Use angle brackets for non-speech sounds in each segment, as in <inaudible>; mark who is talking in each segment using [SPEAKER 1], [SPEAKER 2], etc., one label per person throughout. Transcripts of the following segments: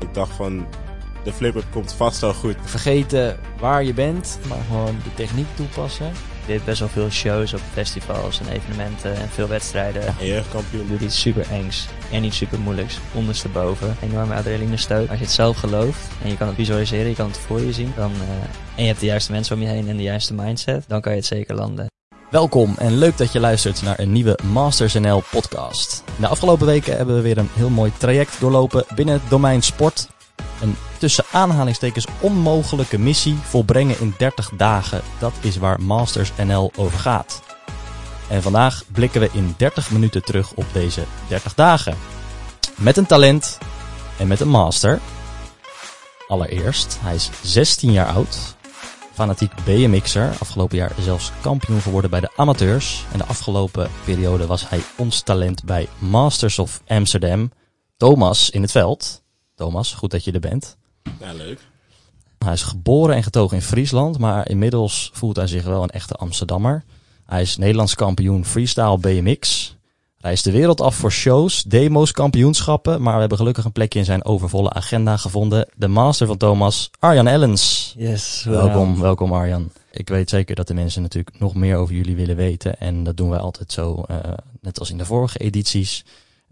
[SPEAKER 1] Ik dacht van, de flip-up komt vast wel goed.
[SPEAKER 2] Vergeten waar je bent, maar gewoon de techniek toepassen.
[SPEAKER 3] Je hebt best wel veel shows op festivals en evenementen en veel wedstrijden.
[SPEAKER 1] En jeugdkampioen.
[SPEAKER 3] Doe iets super engs en iets super moeilijks. Ondersteboven. Enorme adrenaline stoot. Als je het zelf gelooft en je kan het visualiseren, je kan het voor je zien. Dan, eh, en je hebt de juiste mensen om je heen en de juiste mindset. Dan kan je het zeker landen.
[SPEAKER 2] Welkom en leuk dat je luistert naar een nieuwe Masters NL podcast. De afgelopen weken hebben we weer een heel mooi traject doorlopen binnen het domein sport. Een tussen aanhalingstekens onmogelijke missie volbrengen in 30 dagen. Dat is waar Masters NL over gaat. En vandaag blikken we in 30 minuten terug op deze 30 dagen. Met een talent en met een master. Allereerst, hij is 16 jaar oud, fanatiek BMX'er. Afgelopen jaar zelfs kampioen geworden bij de amateurs. En de afgelopen periode was hij ons talent bij Masters of Amsterdam. Thomas in het veld. Thomas, goed dat je er bent.
[SPEAKER 1] Ja, leuk.
[SPEAKER 2] Hij is geboren en getogen in Friesland, maar inmiddels voelt hij zich wel een echte Amsterdammer. Hij is Nederlands kampioen freestyle BMX. Reist de wereld af voor shows, demo's, kampioenschappen. Maar we hebben gelukkig een plekje in zijn overvolle agenda gevonden. De master van Thomas, Arjan Ellens.
[SPEAKER 3] Yes,
[SPEAKER 2] Welkom, welkom Arjan. Ik weet zeker dat de mensen natuurlijk nog meer over jullie willen weten. En dat doen wij altijd zo, eh, net als in de vorige edities.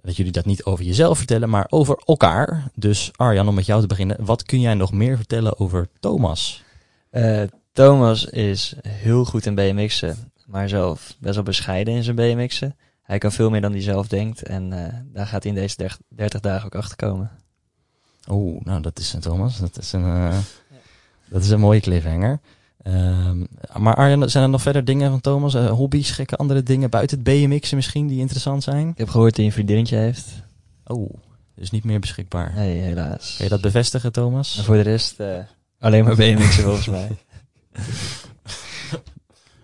[SPEAKER 2] Dat jullie dat niet over jezelf vertellen, maar over elkaar. Dus Arjan, om met jou te beginnen. Wat kun jij nog meer vertellen over Thomas?
[SPEAKER 3] Eh, Thomas is heel goed in BMX'en, maar zelf best wel bescheiden in zijn BMX'en. Hij kan veel meer dan hij zelf denkt en eh, daar gaat hij in deze 30 30 dagen ook achter komen.
[SPEAKER 2] Oeh, nou dat is een Thomas. Dat is een, eh, dat is een mooie cliffhanger. Ehm, maar Arjan, zijn er nog verder dingen van Thomas? Eh, hobby's, gekke andere dingen buiten het BMX'en misschien die interessant zijn?
[SPEAKER 3] Ik heb gehoord dat hij een vriendinnetje heeft.
[SPEAKER 2] Oh, dus niet meer beschikbaar.
[SPEAKER 3] Nee, helaas.
[SPEAKER 2] Kun je dat bevestigen, Thomas?
[SPEAKER 3] En voor de rest eh, alleen maar BMX'en volgens mij.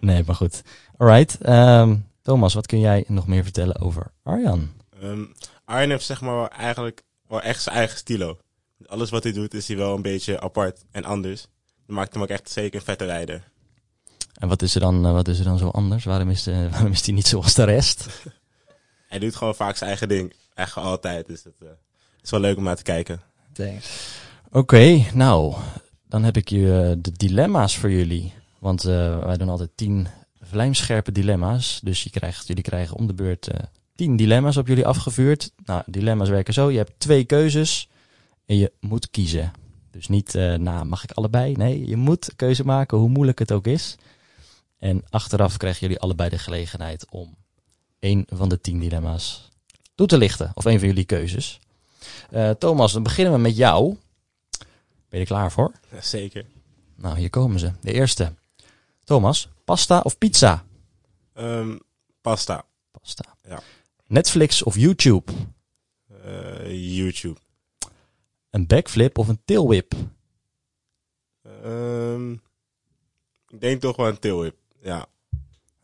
[SPEAKER 2] Nee, maar goed. Alright. Ehm Thomas, wat kun jij nog meer vertellen over Arjan?
[SPEAKER 1] Ehm Arjen heeft zeg maar wel eigenlijk wel echt zijn eigen stilo. Alles wat hij doet is hij wel een beetje apart en anders. Dat maakt hem ook echt zeker een vette rijder.
[SPEAKER 2] En wat is er dan, eh, wat is er dan zo anders? Waarom is, de, <laughs> waarom is die niet zoals de rest?
[SPEAKER 1] Hij doet gewoon vaak zijn eigen ding. Echt altijd. Dus het eh, is wel leuk om naar te kijken.
[SPEAKER 3] Thanks.
[SPEAKER 2] Oké, nou, dan heb ik je eh, de dilemma's voor jullie. Want eh, wij doen altijd tien vlijmscherpe dilemma's. Dus je krijgt, jullie krijgen om de beurt eh, tien dilemma's op jullie afgevuurd. Nou, dilemma's werken zo. Je hebt twee keuzes en je moet kiezen. Dus niet, eh nou, mag ik allebei? Nee, je moet keuze maken, hoe moeilijk het ook is. En achteraf krijgen jullie allebei de gelegenheid om één van de tien dilemma's toe te lichten. Of één van jullie keuzes. Eh, Thomas, dan beginnen we met jou. Ben je er klaar voor?
[SPEAKER 1] Ja, Zeker.
[SPEAKER 2] Nou, hier komen ze. De eerste. Thomas, pasta of pizza?
[SPEAKER 1] Ehm, pasta.
[SPEAKER 2] Pasta.
[SPEAKER 1] Ja.
[SPEAKER 2] Netflix of YouTube?
[SPEAKER 1] Eh, YouTube.
[SPEAKER 2] Een backflip of een tailwhip?
[SPEAKER 1] Ehm, ik denk toch wel een tailwhip. Ja.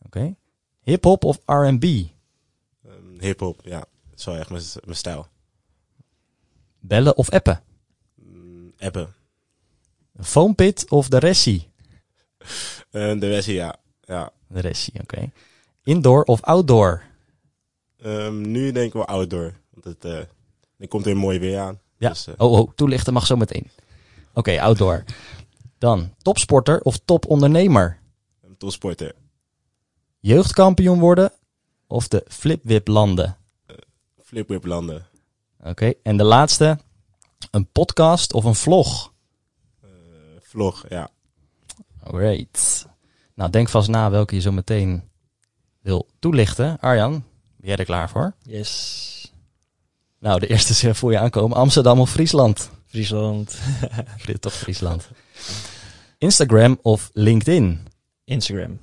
[SPEAKER 2] Oké. Hip-hop of RB?
[SPEAKER 1] Ehm, Hip-hop. Ja. Dat is wel echt mijn mijn stijl.
[SPEAKER 2] Bellen of appen?
[SPEAKER 1] Mm, appen.
[SPEAKER 2] Een foampit of de ressie?
[SPEAKER 1] Eh, de Wessie, ja. ja.
[SPEAKER 2] De ressie, oké. Indoor of outdoor?
[SPEAKER 1] Ehm, nu denk ik wel outdoor. Want het, eh, er komt weer mooi weer aan.
[SPEAKER 2] Ja.
[SPEAKER 1] Dus, eh,
[SPEAKER 2] Oh, oh, toelichten mag zo meteen. Oké, outdoor. Dan topsporter of topondernemer?
[SPEAKER 1] een topsporter.
[SPEAKER 2] Jeugdkampioen worden of de flipwip landen?
[SPEAKER 1] Flipwip landen.
[SPEAKER 2] Oké, en de laatste. Een podcast of een vlog?
[SPEAKER 1] Eh, vlog, ja.
[SPEAKER 2] Alright. Nou, denk vast na welke je zo meteen wil toelichten. Arjan, ben jij er klaar voor?
[SPEAKER 3] Yes.
[SPEAKER 2] Nou, de eerste is eh, voor je aankomen. Amsterdam of Friesland?
[SPEAKER 3] Friesland.
[SPEAKER 2] Fri- Toch Friesland. Instagram of LinkedIn?
[SPEAKER 3] Instagram.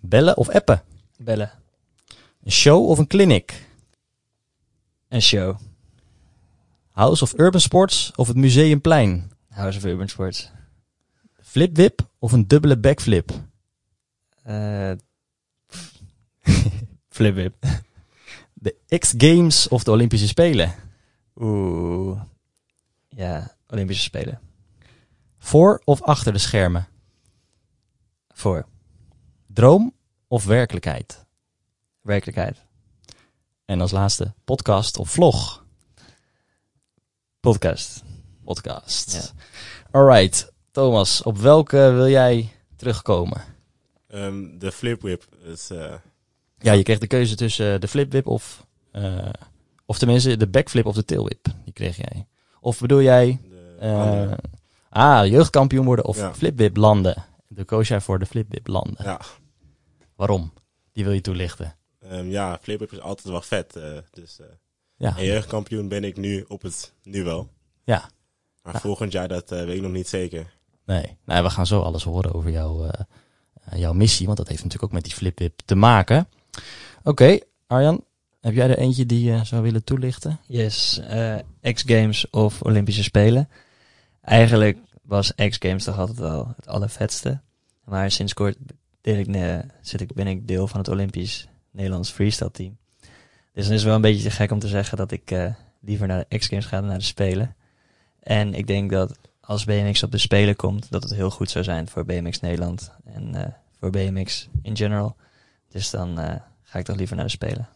[SPEAKER 2] Bellen of appen?
[SPEAKER 3] Bellen.
[SPEAKER 2] Een show of een clinic?
[SPEAKER 3] En show.
[SPEAKER 2] House of Urban Sports of het Museumplein?
[SPEAKER 3] House of Urban Sports.
[SPEAKER 2] Flipwip of een dubbele backflip?
[SPEAKER 3] Eh <laughs> Flip Whip.
[SPEAKER 2] De X Games of de Olympische Spelen?
[SPEAKER 3] Oeh. Ja, Olympische Spelen.
[SPEAKER 2] Voor of achter de schermen?
[SPEAKER 3] Voor.
[SPEAKER 2] Droom of werkelijkheid?
[SPEAKER 3] Werkelijkheid.
[SPEAKER 2] En als laatste podcast of vlog.
[SPEAKER 3] Podcast.
[SPEAKER 2] podcast.
[SPEAKER 3] Ja.
[SPEAKER 2] Alright, Thomas, op welke wil jij terugkomen?
[SPEAKER 1] Ehm, de flip whip. Dus, eh,
[SPEAKER 2] Ja, je kreeg de keuze tussen de flipwip of... eh, of tenminste, de backflip of de tailwip. Die kreeg jij. Of bedoel jij...
[SPEAKER 1] de
[SPEAKER 2] eh,
[SPEAKER 1] andere.
[SPEAKER 2] ah, jeugdkampioen worden of
[SPEAKER 1] Ja.
[SPEAKER 2] flipwip landen. Toen koos jij voor de flipwip landen.
[SPEAKER 1] Ja.
[SPEAKER 2] Waarom? Die wil je toelichten.
[SPEAKER 1] Ehm, ja, flip whip is altijd wel vet. eh, dus, eh,
[SPEAKER 2] Ja,
[SPEAKER 1] en jeugdkampioen ben ik nu op het nu wel.
[SPEAKER 2] Ah. ja.
[SPEAKER 1] Maar
[SPEAKER 2] Nou.
[SPEAKER 1] volgend jaar, dat eh, weet ik nog niet zeker.
[SPEAKER 2] Nee. nee, we gaan zo alles horen over jouw, eh, eh, jouw missie, want dat heeft natuurlijk ook met die flipwip te maken. Oké, Arjan, heb jij er eentje die je zou willen toelichten?
[SPEAKER 3] Yes, eh, X Games of Olympische Spelen. Eigenlijk was X Games toch altijd wel het allervetste. Maar sinds kort deel ik, ne- zit ik, ben ik deel van het Olympisch Nederlands freestyle team. Dus dan is het wel een beetje te gek om te zeggen dat ik eh, liever naar de X Games ga dan naar de Spelen. En ik denk dat als BMX op de Spelen komt, dat het heel goed zou zijn voor BMX Nederland en eh, voor BMX in general. Dus dan eh, ga ik toch liever naar de Spelen.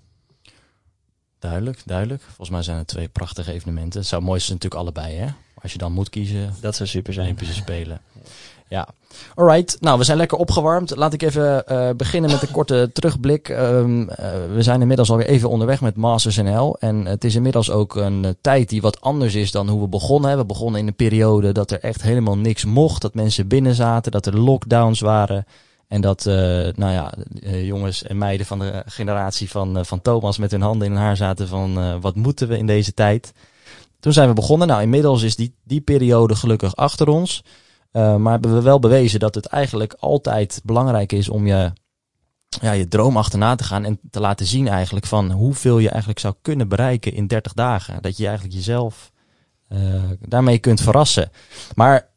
[SPEAKER 2] Duidelijk, duidelijk. Volgens mij zijn het twee prachtige evenementen. Het zou mooi zijn natuurlijk allebei, hè? Maar als je dan moet kiezen,
[SPEAKER 3] Dat zou super zijn.
[SPEAKER 2] Olympische Spelen. Ja. Alright, nou we zijn lekker opgewarmd. Laat ik even eh, beginnen met een korte terugblik. Ehm, eh, we zijn inmiddels alweer even onderweg met Masters NL. En het is inmiddels ook een eh, tijd die wat anders is dan hoe we begonnen. We begonnen in een periode dat er echt helemaal niks mocht. Dat mensen binnen zaten, dat er lockdowns waren. En dat, eh, nou ja, eh, jongens en meiden van de generatie van, eh, van Thomas met hun handen in haar zaten van eh, wat moeten we in deze tijd? Toen zijn we begonnen. Nou, inmiddels is die, die periode gelukkig achter ons. Eh, maar hebben we wel bewezen dat het eigenlijk altijd belangrijk is om je, ja, je droom achterna te gaan en te laten zien eigenlijk van hoeveel je eigenlijk zou kunnen bereiken in 30 dagen. Dat je eigenlijk jezelf eh, daarmee kunt verrassen. Maar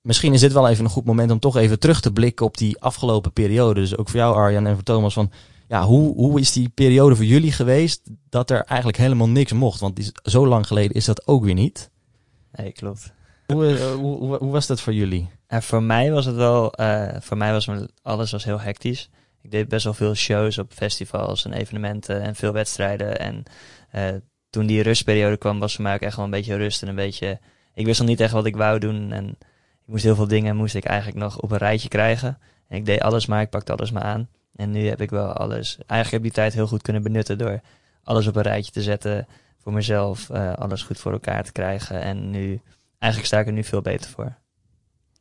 [SPEAKER 2] misschien is dit wel even een goed moment om toch even terug te blikken op die afgelopen periode. Dus ook voor jou Arjan en voor Thomas van ja, hoe, hoe is die periode voor jullie geweest dat er eigenlijk helemaal niks mocht? Want die, is- zo lang geleden is dat ook weer niet.
[SPEAKER 3] Nee, klopt.
[SPEAKER 2] Hoe, eh, hoe, hoe, hoe was dat voor jullie?
[SPEAKER 3] En voor mij was het wel, eh, voor mij was mijn- alles was heel hectisch. Ik deed best wel veel shows op festivals en evenementen en veel wedstrijden. En eh, toen die rustperiode kwam, was voor mij ook echt wel een beetje rust en een beetje. Ik wist nog niet echt wat ik wou doen en ik moest heel veel dingen moest ik eigenlijk nog op een rijtje krijgen. En ik deed alles maar, ik pakte alles maar aan. En nu heb ik wel alles. Eigenlijk heb ik die tijd heel goed kunnen benutten door alles op een rijtje te zetten voor mezelf, eh, alles goed voor elkaar te krijgen. En nu, eigenlijk sta ik er nu veel beter voor.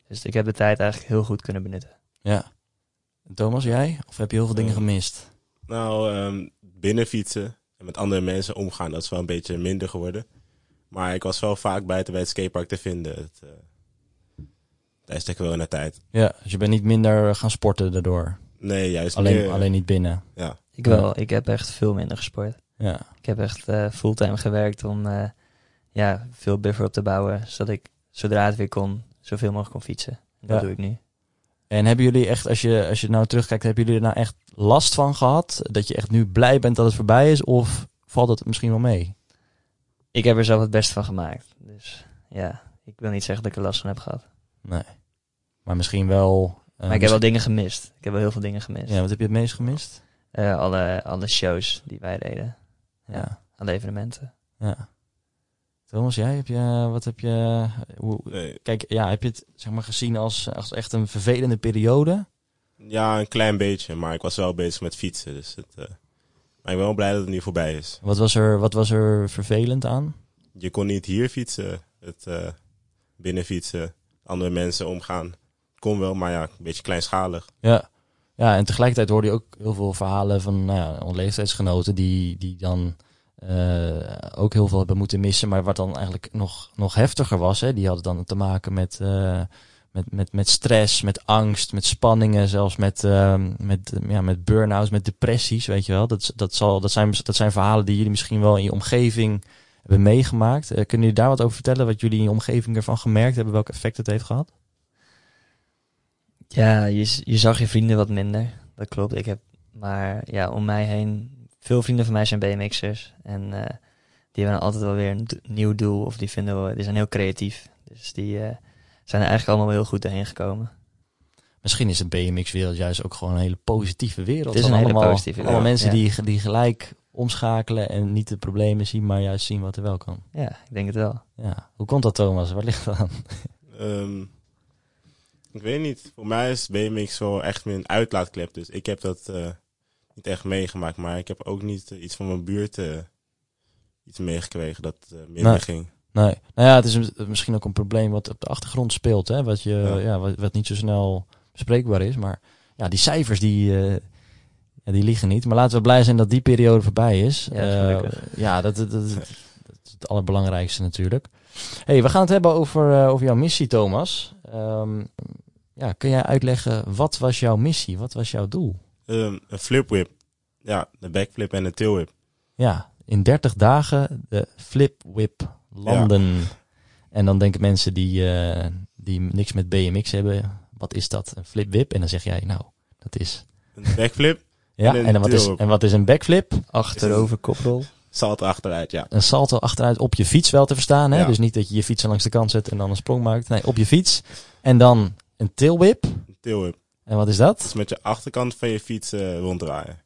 [SPEAKER 3] Dus ik heb de tijd eigenlijk heel goed kunnen benutten.
[SPEAKER 2] Ja. Thomas, jij? Of heb je heel veel dingen
[SPEAKER 1] Eh.
[SPEAKER 2] gemist?
[SPEAKER 1] Nou, ehm binnen fietsen en met andere mensen omgaan, dat is wel een beetje minder geworden. Maar ik was wel vaak buiten bij het skatepark te vinden. Het, eh tijdens de coronatijd.
[SPEAKER 2] Ja, dus je bent niet minder gaan sporten daardoor.
[SPEAKER 1] Nee, juist
[SPEAKER 2] Alleen,
[SPEAKER 1] meer.
[SPEAKER 2] alleen niet binnen.
[SPEAKER 1] Ja.
[SPEAKER 3] Ik wel, ik heb echt veel minder gesport.
[SPEAKER 2] Ja.
[SPEAKER 3] Ik heb echt eh, fulltime gewerkt om eh, ja, veel buffer op te bouwen, zodat ik zodra het weer kon, zoveel mogelijk kon fietsen. En Dat
[SPEAKER 2] Ja.
[SPEAKER 3] doe ik nu.
[SPEAKER 2] En hebben jullie echt, als je, als je nou terugkijkt, hebben jullie er nou echt last van gehad? Dat je echt nu blij bent dat het voorbij is? Of valt het misschien wel mee?
[SPEAKER 3] Ik heb er zelf het beste van gemaakt. Dus ja, ik wil niet zeggen dat ik er last van heb gehad. Maar
[SPEAKER 2] Nee. Maar misschien wel... eh,
[SPEAKER 3] ik heb wel
[SPEAKER 2] misschien-
[SPEAKER 3] dingen gemist. Ik heb wel heel veel dingen gemist.
[SPEAKER 2] Ja, wat heb je het meest gemist?
[SPEAKER 3] Eh, alle, alle shows die wij deden, Ja.
[SPEAKER 2] Ja.
[SPEAKER 3] alle evenementen.
[SPEAKER 2] ja. Thomas, jij? Heb je, wat heb je... Hoe,
[SPEAKER 1] Nee.
[SPEAKER 2] kijk, ja, heb je het zeg maar, gezien als, als echt een vervelende periode?
[SPEAKER 1] Ja, een klein beetje. Maar ik was wel bezig met fietsen. Dus het, eh, maar ik ben wel blij dat het nu voorbij is.
[SPEAKER 2] Wat was er, wat was er vervelend aan?
[SPEAKER 1] Je kon niet hier fietsen. Het, eh, binnen fietsen. Andere mensen omgaan. Kon wel, maar ja, een beetje kleinschalig.
[SPEAKER 2] Ja. ja, en tegelijkertijd hoorde je ook heel veel verhalen van nou ja, onleeftijdsgenoten die, die dan eh, ook heel veel hebben moeten missen, maar wat dan eigenlijk nog, nog heftiger was. Hè? Die hadden dan te maken met, eh, met, met, met stress, met angst, met spanningen, zelfs met, ehm, met, eh, ja, met burn-outs, met depressies, weet je wel. Dat, dat, zal, dat, zijn, dat zijn verhalen die jullie misschien wel in je omgeving hebben meegemaakt. Eh, kunnen jullie daar wat over vertellen, wat jullie in je omgeving ervan gemerkt hebben, welk effect het heeft gehad?
[SPEAKER 3] Ja, je, z- je zag je vrienden wat minder. Dat klopt. Ik heb maar ja, om mij heen. Veel vrienden van mij zijn BMX'ers. En eh, die hebben altijd wel weer een d- nieuw doel. Of die vinden wel, die zijn heel creatief. Dus die eh, zijn er eigenlijk allemaal wel heel goed doorheen gekomen.
[SPEAKER 2] Misschien is de BMX-wereld juist ook gewoon een hele positieve wereld.
[SPEAKER 3] Het is
[SPEAKER 2] Van
[SPEAKER 3] een hele
[SPEAKER 2] allemaal,
[SPEAKER 3] positieve
[SPEAKER 2] Allemaal
[SPEAKER 1] wereld,
[SPEAKER 2] mensen
[SPEAKER 3] ja.
[SPEAKER 2] die, die gelijk omschakelen en niet de problemen zien, maar juist zien wat er wel kan.
[SPEAKER 3] Ja, ik denk het wel.
[SPEAKER 2] Ja. Hoe komt dat, Thomas? Waar ligt dat aan?
[SPEAKER 1] Ehm, ik weet niet. Voor mij is BMX wel echt mijn uitlaatklep. Dus ik heb dat eh, niet echt meegemaakt. Maar ik heb ook niet eh, iets van mijn buurt eh, iets meegekregen dat eh, minder
[SPEAKER 2] Nee.
[SPEAKER 1] ging.
[SPEAKER 2] Nee. Nou ja, het is een- misschien ook een probleem wat op de achtergrond speelt. Hè? Wat, je, ja.
[SPEAKER 1] Ja.
[SPEAKER 2] wat, wat niet zo snel bespreekbaar is. Maar ja, die cijfers die, eh, ja, die liegen niet. Maar laten we blij zijn dat die periode voorbij is.
[SPEAKER 3] Ja,
[SPEAKER 2] Eh,
[SPEAKER 3] gelukkig.
[SPEAKER 2] ja dat, dat, dat, dat is het allerbelangrijkste natuurlijk. hey, we gaan het hebben over, eh, over jouw missie, Thomas. Ehm, ja, kun jij uitleggen, wat was jouw missie? Wat was jouw doel?
[SPEAKER 1] Ehm, een flipwhip. Ja, de backflip en de tailwhip.
[SPEAKER 2] Ja, in 30 dagen de flip-whip landen. En dan denken mensen die, eh, die niks met BMX hebben, wat is dat? Een flip-whip? En dan zeg jij, nou, dat is...
[SPEAKER 1] Een backflip,
[SPEAKER 2] Ja,
[SPEAKER 1] En
[SPEAKER 2] en,
[SPEAKER 1] een
[SPEAKER 2] dan wat, is,
[SPEAKER 1] duo-whip.
[SPEAKER 2] en wat is een backflip?
[SPEAKER 3] Achterover koprol.
[SPEAKER 1] zalt achteruit, ja.
[SPEAKER 2] Een salto achteruit op je fiets wel te verstaan. Hè?
[SPEAKER 1] Ja.
[SPEAKER 2] Dus niet dat je je fiets langs de kant zet en dan een sprong maakt. Nee, op je fiets. En dan een tailwhip.
[SPEAKER 1] Een tailwhip.
[SPEAKER 2] En wat is
[SPEAKER 1] Dat
[SPEAKER 2] dat?
[SPEAKER 1] is met je achterkant van je fiets eh, ronddraaien.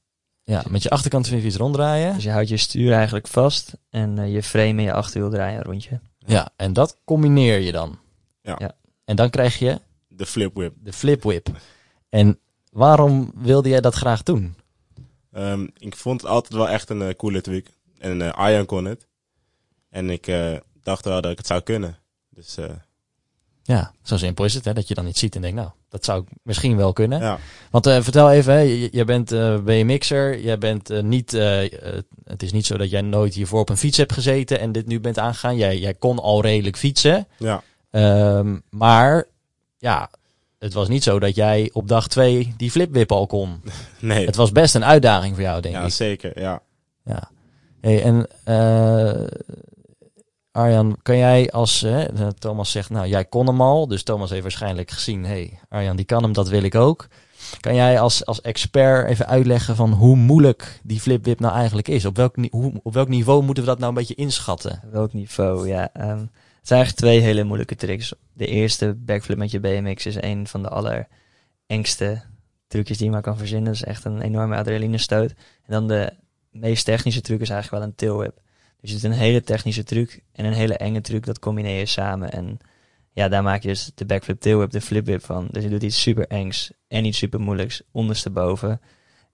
[SPEAKER 2] Ja, met je achterkant van je fiets ronddraaien.
[SPEAKER 3] Dus je houdt je stuur eigenlijk vast en eh, je frame en je achterwiel draaien een rondje.
[SPEAKER 2] Ja, en dat combineer je dan.
[SPEAKER 1] Ja.
[SPEAKER 3] Ja.
[SPEAKER 2] En dan krijg je
[SPEAKER 1] De flipwhip.
[SPEAKER 2] De flipwhip. En waarom wilde jij dat graag doen?
[SPEAKER 1] Ehm, ik vond het altijd wel echt een eh, coole truc. En eh Arjan kon het. En ik eh, dacht wel dat ik het zou kunnen. Dus eh,
[SPEAKER 2] Ja, zo simpel is het, hè? dat je dan iets ziet en denkt, nou, dat zou ik misschien wel kunnen.
[SPEAKER 1] ja.
[SPEAKER 2] Want eh, vertel even, hè, je, je bent eh BMX'er, jij bent eh, niet, eh, eh, het is niet zo dat jij nooit hiervoor op een fiets hebt gezeten en dit nu bent aangegaan. Jij, jij kon al redelijk fietsen,
[SPEAKER 1] ja.
[SPEAKER 2] Ehm, maar ja, het was niet zo dat jij op dag twee die flipwip al kon.
[SPEAKER 1] Nee.
[SPEAKER 2] Het was best een uitdaging voor jou, denk
[SPEAKER 1] Ja,
[SPEAKER 2] ik.
[SPEAKER 1] zeker. Ja.
[SPEAKER 2] Ja. Hey, en eh, Arjan, kan jij als eh, Thomas zegt, nou jij kon hem al, dus Thomas heeft waarschijnlijk gezien, hey, Arjan die kan hem, dat wil ik ook. Kan jij als, als expert even uitleggen van hoe moeilijk die flipwip nou eigenlijk is? Op welk, ni- hoe, op welk niveau moeten we dat nou een beetje inschatten?
[SPEAKER 3] Welk niveau, ja. ehm, het zijn eigenlijk twee hele moeilijke tricks. De eerste, backflip met je BMX, is een van de allerengste trucjes die je maar kan verzinnen. Dat is echt een enorme adrenalinestoot. En dan de meest technische truc is eigenlijk wel een tailwhip. Dus je doet een hele technische truc en een hele enge truc, dat combineer je samen. En ja, daar maak je dus de backflip tailwhip, de flipwhip van. Dus je doet iets super engs en iets super moeilijks, ondersteboven.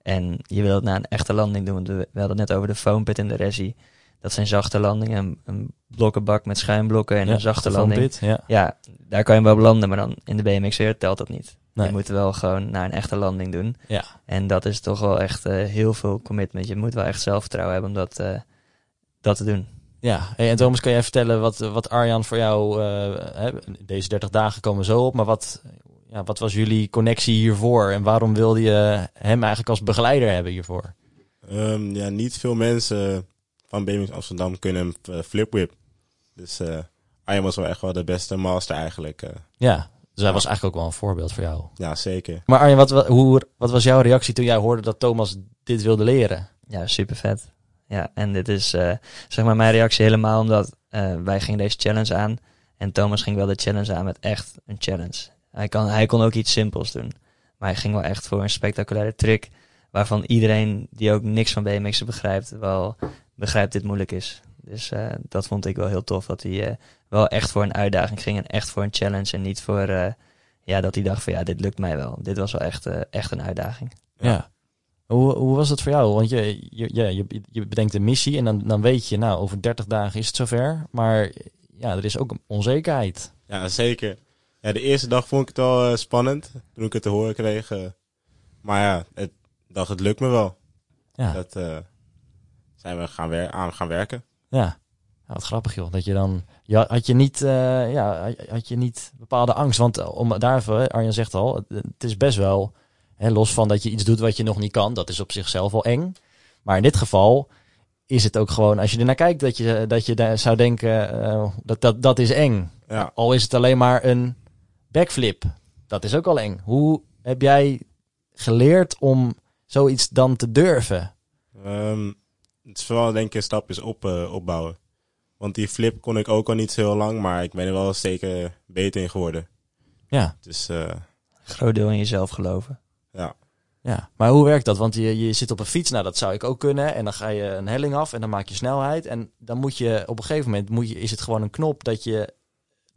[SPEAKER 3] En je wil het na een echte landing doen. We hadden het net over de foam pit en de resi. Dat zijn zachte landingen. Een, een blokkenbak met schuimblokken en
[SPEAKER 2] Ja,
[SPEAKER 3] een zachte
[SPEAKER 2] van
[SPEAKER 3] landing.
[SPEAKER 2] Pitt, ja.
[SPEAKER 3] Ja, daar kan je wel op landen, maar dan in de BMX weer telt dat niet.
[SPEAKER 2] Nee.
[SPEAKER 3] Je moet wel gewoon naar een echte landing doen.
[SPEAKER 2] Ja.
[SPEAKER 3] En dat is toch wel echt eh, heel veel commitment. Je moet wel echt zelfvertrouwen hebben om dat, eh, dat te doen.
[SPEAKER 2] Ja, hey, en Thomas, kan jij vertellen wat, eh, wat Arjan voor jou, eh, hè, deze 30 dagen komen we zo op, maar wat, ja, wat was jullie connectie hiervoor en waarom wilde je hem eigenlijk als begeleider hebben hiervoor?
[SPEAKER 1] Ehm, ja, niet veel mensen van BMX Amsterdam kunnen een eh, flipwhip. Dus eh Arjan was wel echt wel de beste master eigenlijk. eh.
[SPEAKER 2] Ja, dus hij was eigenlijk ook wel een voorbeeld voor jou.
[SPEAKER 1] ja, zeker.
[SPEAKER 2] Maar Arjan, wat, wa- hoe, wat was jouw reactie toen jij hoorde dat Thomas dit wilde leren?
[SPEAKER 3] Ja, super vet. Ja, en dit is eh, zeg maar mijn reactie helemaal omdat eh, wij gingen deze challenge aan. En Thomas ging wel de challenge aan met echt een challenge. Hij, kan, hij kon ook iets simpels doen. Maar hij ging wel echt voor een spectaculaire trick. Waarvan iedereen die ook niks van BMX'en begrijpt, wel begrijpt dit moeilijk is. Dus eh, dat vond ik wel heel tof. Dat hij eh, wel echt voor een uitdaging ging en echt voor een challenge. En niet voor eh, ja, dat hij dacht van ja, dit lukt mij wel. Dit was wel echt, eh, echt een uitdaging.
[SPEAKER 2] Ja. Hoe, hoe was dat voor jou? Want je, je, ja, je, je bedenkt een missie en dan, dan weet je, nou, over 30 dagen is het zover. Maar ja, er is ook een onzekerheid.
[SPEAKER 1] Ja, zeker. Ja, de eerste dag vond ik het wel eh, spannend. Toen ik het te horen kreeg. eh. maar ja, het, ik dacht het lukt me wel.
[SPEAKER 2] Ja.
[SPEAKER 1] Dat eh, zijn we gaan wer- aan gaan werken.
[SPEAKER 2] Ja. Ja, wat grappig joh, dat je dan... Ja, had, je niet, eh, ja, had je niet bepaalde angst? Want eh, om daar even, hè, Arjan zegt al, het- het is best wel... Hè, los van dat je iets doet wat je nog niet kan, dat is op zichzelf al eng. Maar in dit geval is het ook gewoon, als je ernaar kijkt, dat je, dat je daar zou denken, eh, dat, dat, dat is eng.
[SPEAKER 1] Ja.
[SPEAKER 2] Al is het alleen maar een backflip. Dat is ook al eng. Hoe heb jij geleerd om zoiets dan te durven?
[SPEAKER 1] Ehm, het is vooral denk ik stapjes op, eh, opbouwen. Want die flip kon ik ook al niet zo heel lang. Maar ik ben er wel zeker beter in geworden.
[SPEAKER 2] Ja.
[SPEAKER 1] Dus eh,
[SPEAKER 3] Groot deel in jezelf geloven.
[SPEAKER 2] Ja, maar hoe werkt dat? Want je, je zit op een fiets, nou dat zou ik ook kunnen. En dan ga je een helling af en dan maak je snelheid. En dan moet je op een gegeven moment, moet je, is het gewoon een knop dat je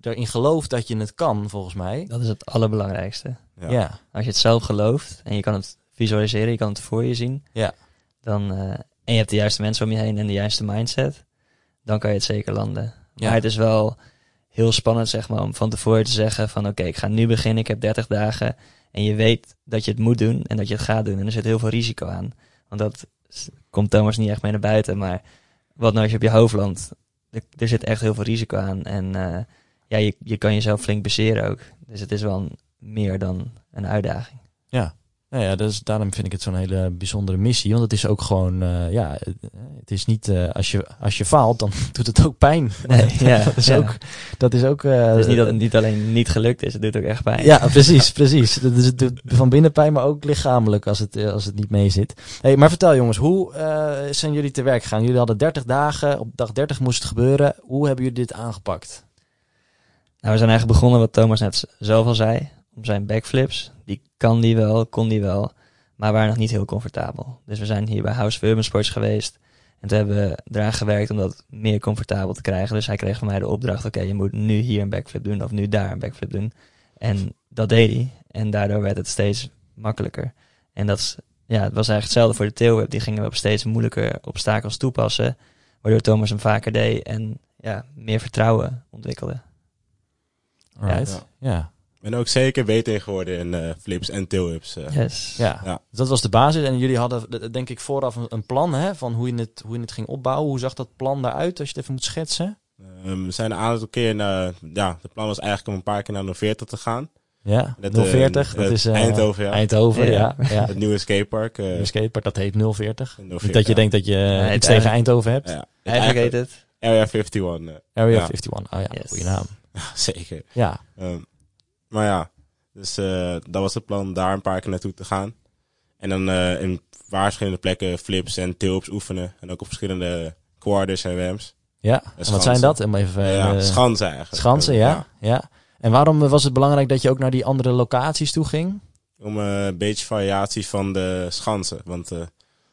[SPEAKER 2] erin gelooft dat je het kan, volgens mij.
[SPEAKER 3] Dat is het allerbelangrijkste.
[SPEAKER 2] Ja,
[SPEAKER 1] Ja.
[SPEAKER 2] ja.
[SPEAKER 3] Als je het zelf gelooft en je kan het visualiseren, je kan het voor je zien.
[SPEAKER 2] Ja.
[SPEAKER 3] Dan, eh, en je hebt de juiste mensen om je heen en de juiste mindset. Dan kan je het zeker landen. Maar het is wel heel spannend zeg maar, om van tevoren te zeggen van oké, ik ga nu beginnen, ik heb 30 dagen. En je weet dat je het moet doen en dat je het gaat doen. En er zit heel veel risico aan. Want dat s- komt Thomas niet echt mee naar buiten. Maar wat nou als je op je hoofd landt? Er, er zit echt heel veel risico aan. En eh, ja, je, je kan jezelf flink bezeren ook. Dus het is wel een- meer dan een uitdaging.
[SPEAKER 2] Nou ja, dus daarom vind ik het zo'n hele bijzondere missie. Want het is ook gewoon, eh, ja, eh, het is niet, eh, als, je, als je faalt, dan <laughs> doet het ook pijn.
[SPEAKER 3] Nee, <laughs>
[SPEAKER 2] <laughs>
[SPEAKER 3] ja,
[SPEAKER 2] dat is
[SPEAKER 3] ja.
[SPEAKER 2] ook, dat is ook... eh,
[SPEAKER 3] Het is niet dat het niet alleen niet gelukt is, het doet ook echt pijn.
[SPEAKER 2] Ja, precies, precies. Dat is het doet van binnen pijn, maar ook lichamelijk als het, eh, als het niet mee zit. Hey, maar vertel jongens, hoe eh, zijn jullie te werk gegaan? Jullie hadden 30 dagen, op dag 30 moest het gebeuren. Hoe hebben jullie dit aangepakt?
[SPEAKER 3] Nou, we zijn eigenlijk begonnen wat Thomas net z- zelf al zei. Om zijn backflips. Die kan die wel, kon die wel. Maar waren nog niet heel comfortabel. Dus we zijn hier bij House of Urban Sports geweest. En toen hebben we eraan gewerkt om dat meer comfortabel te krijgen. Dus hij kreeg van mij de opdracht. Oké, je moet nu hier een backflip doen. Of nu daar een backflip doen. En dat deed hij. En daardoor werd het steeds makkelijker. En dat is, ja, het was eigenlijk hetzelfde voor de tailwhip. Die gingen we op steeds moeilijker obstakels toepassen. Waardoor Thomas hem vaker deed. En ja, meer vertrouwen ontwikkelde.
[SPEAKER 1] Ja.
[SPEAKER 2] Ja.
[SPEAKER 1] Ik ben ook zeker beter in geworden in eh, flips en tail-ups. eh.
[SPEAKER 3] Yes.
[SPEAKER 2] Ja.
[SPEAKER 1] Ja.
[SPEAKER 2] Dus dat was de basis. En jullie hadden eh, denk ik vooraf een- een plan hè, van hoe je, het, hoe je het ging opbouwen. Hoe zag dat plan daaruit als je het even moet schetsen?
[SPEAKER 1] Ehm, we zijn een aantal keer naar... Ja, het plan was eigenlijk om een paar keer naar 040 te gaan.
[SPEAKER 2] Ja,
[SPEAKER 1] Dat, eh,
[SPEAKER 2] 040. dat
[SPEAKER 1] eh,
[SPEAKER 2] is eh,
[SPEAKER 1] Eindhoven, ja.
[SPEAKER 2] Eindhoven, ja.
[SPEAKER 3] Ja.
[SPEAKER 1] <laughs>
[SPEAKER 2] ja.
[SPEAKER 1] Het nieuwe skatepark. eh,
[SPEAKER 2] Een skatepark, dat heet 040. Niet
[SPEAKER 1] 040,
[SPEAKER 2] dat je
[SPEAKER 1] ja.
[SPEAKER 2] denkt dat je
[SPEAKER 3] het
[SPEAKER 2] iets
[SPEAKER 3] eind-
[SPEAKER 2] tegen Eindhoven hebt.
[SPEAKER 1] Ja, het
[SPEAKER 3] Eigenlijk heet het.
[SPEAKER 1] Area 51. eh,
[SPEAKER 2] Area
[SPEAKER 1] Ja.
[SPEAKER 2] 51. Oh ja,
[SPEAKER 3] Yes.
[SPEAKER 2] goede naam.
[SPEAKER 1] zeker.
[SPEAKER 2] Ja,
[SPEAKER 1] Ehm, maar ja, dus eh, dat was het plan daar een paar keer naartoe te gaan. En dan eh, in waar verschillende plekken flips en tilps oefenen. En ook op verschillende quarters en rams.
[SPEAKER 2] ja. En wat
[SPEAKER 1] Schansen.
[SPEAKER 2] zijn dat? En even, eh,
[SPEAKER 1] ja, schansen eigenlijk.
[SPEAKER 2] Schansen,
[SPEAKER 1] Eh,
[SPEAKER 2] ja. ja. En waarom eh, was het belangrijk dat je ook naar die andere locaties toe ging?
[SPEAKER 1] Om eh, een beetje variatie van de schansen. Want eh,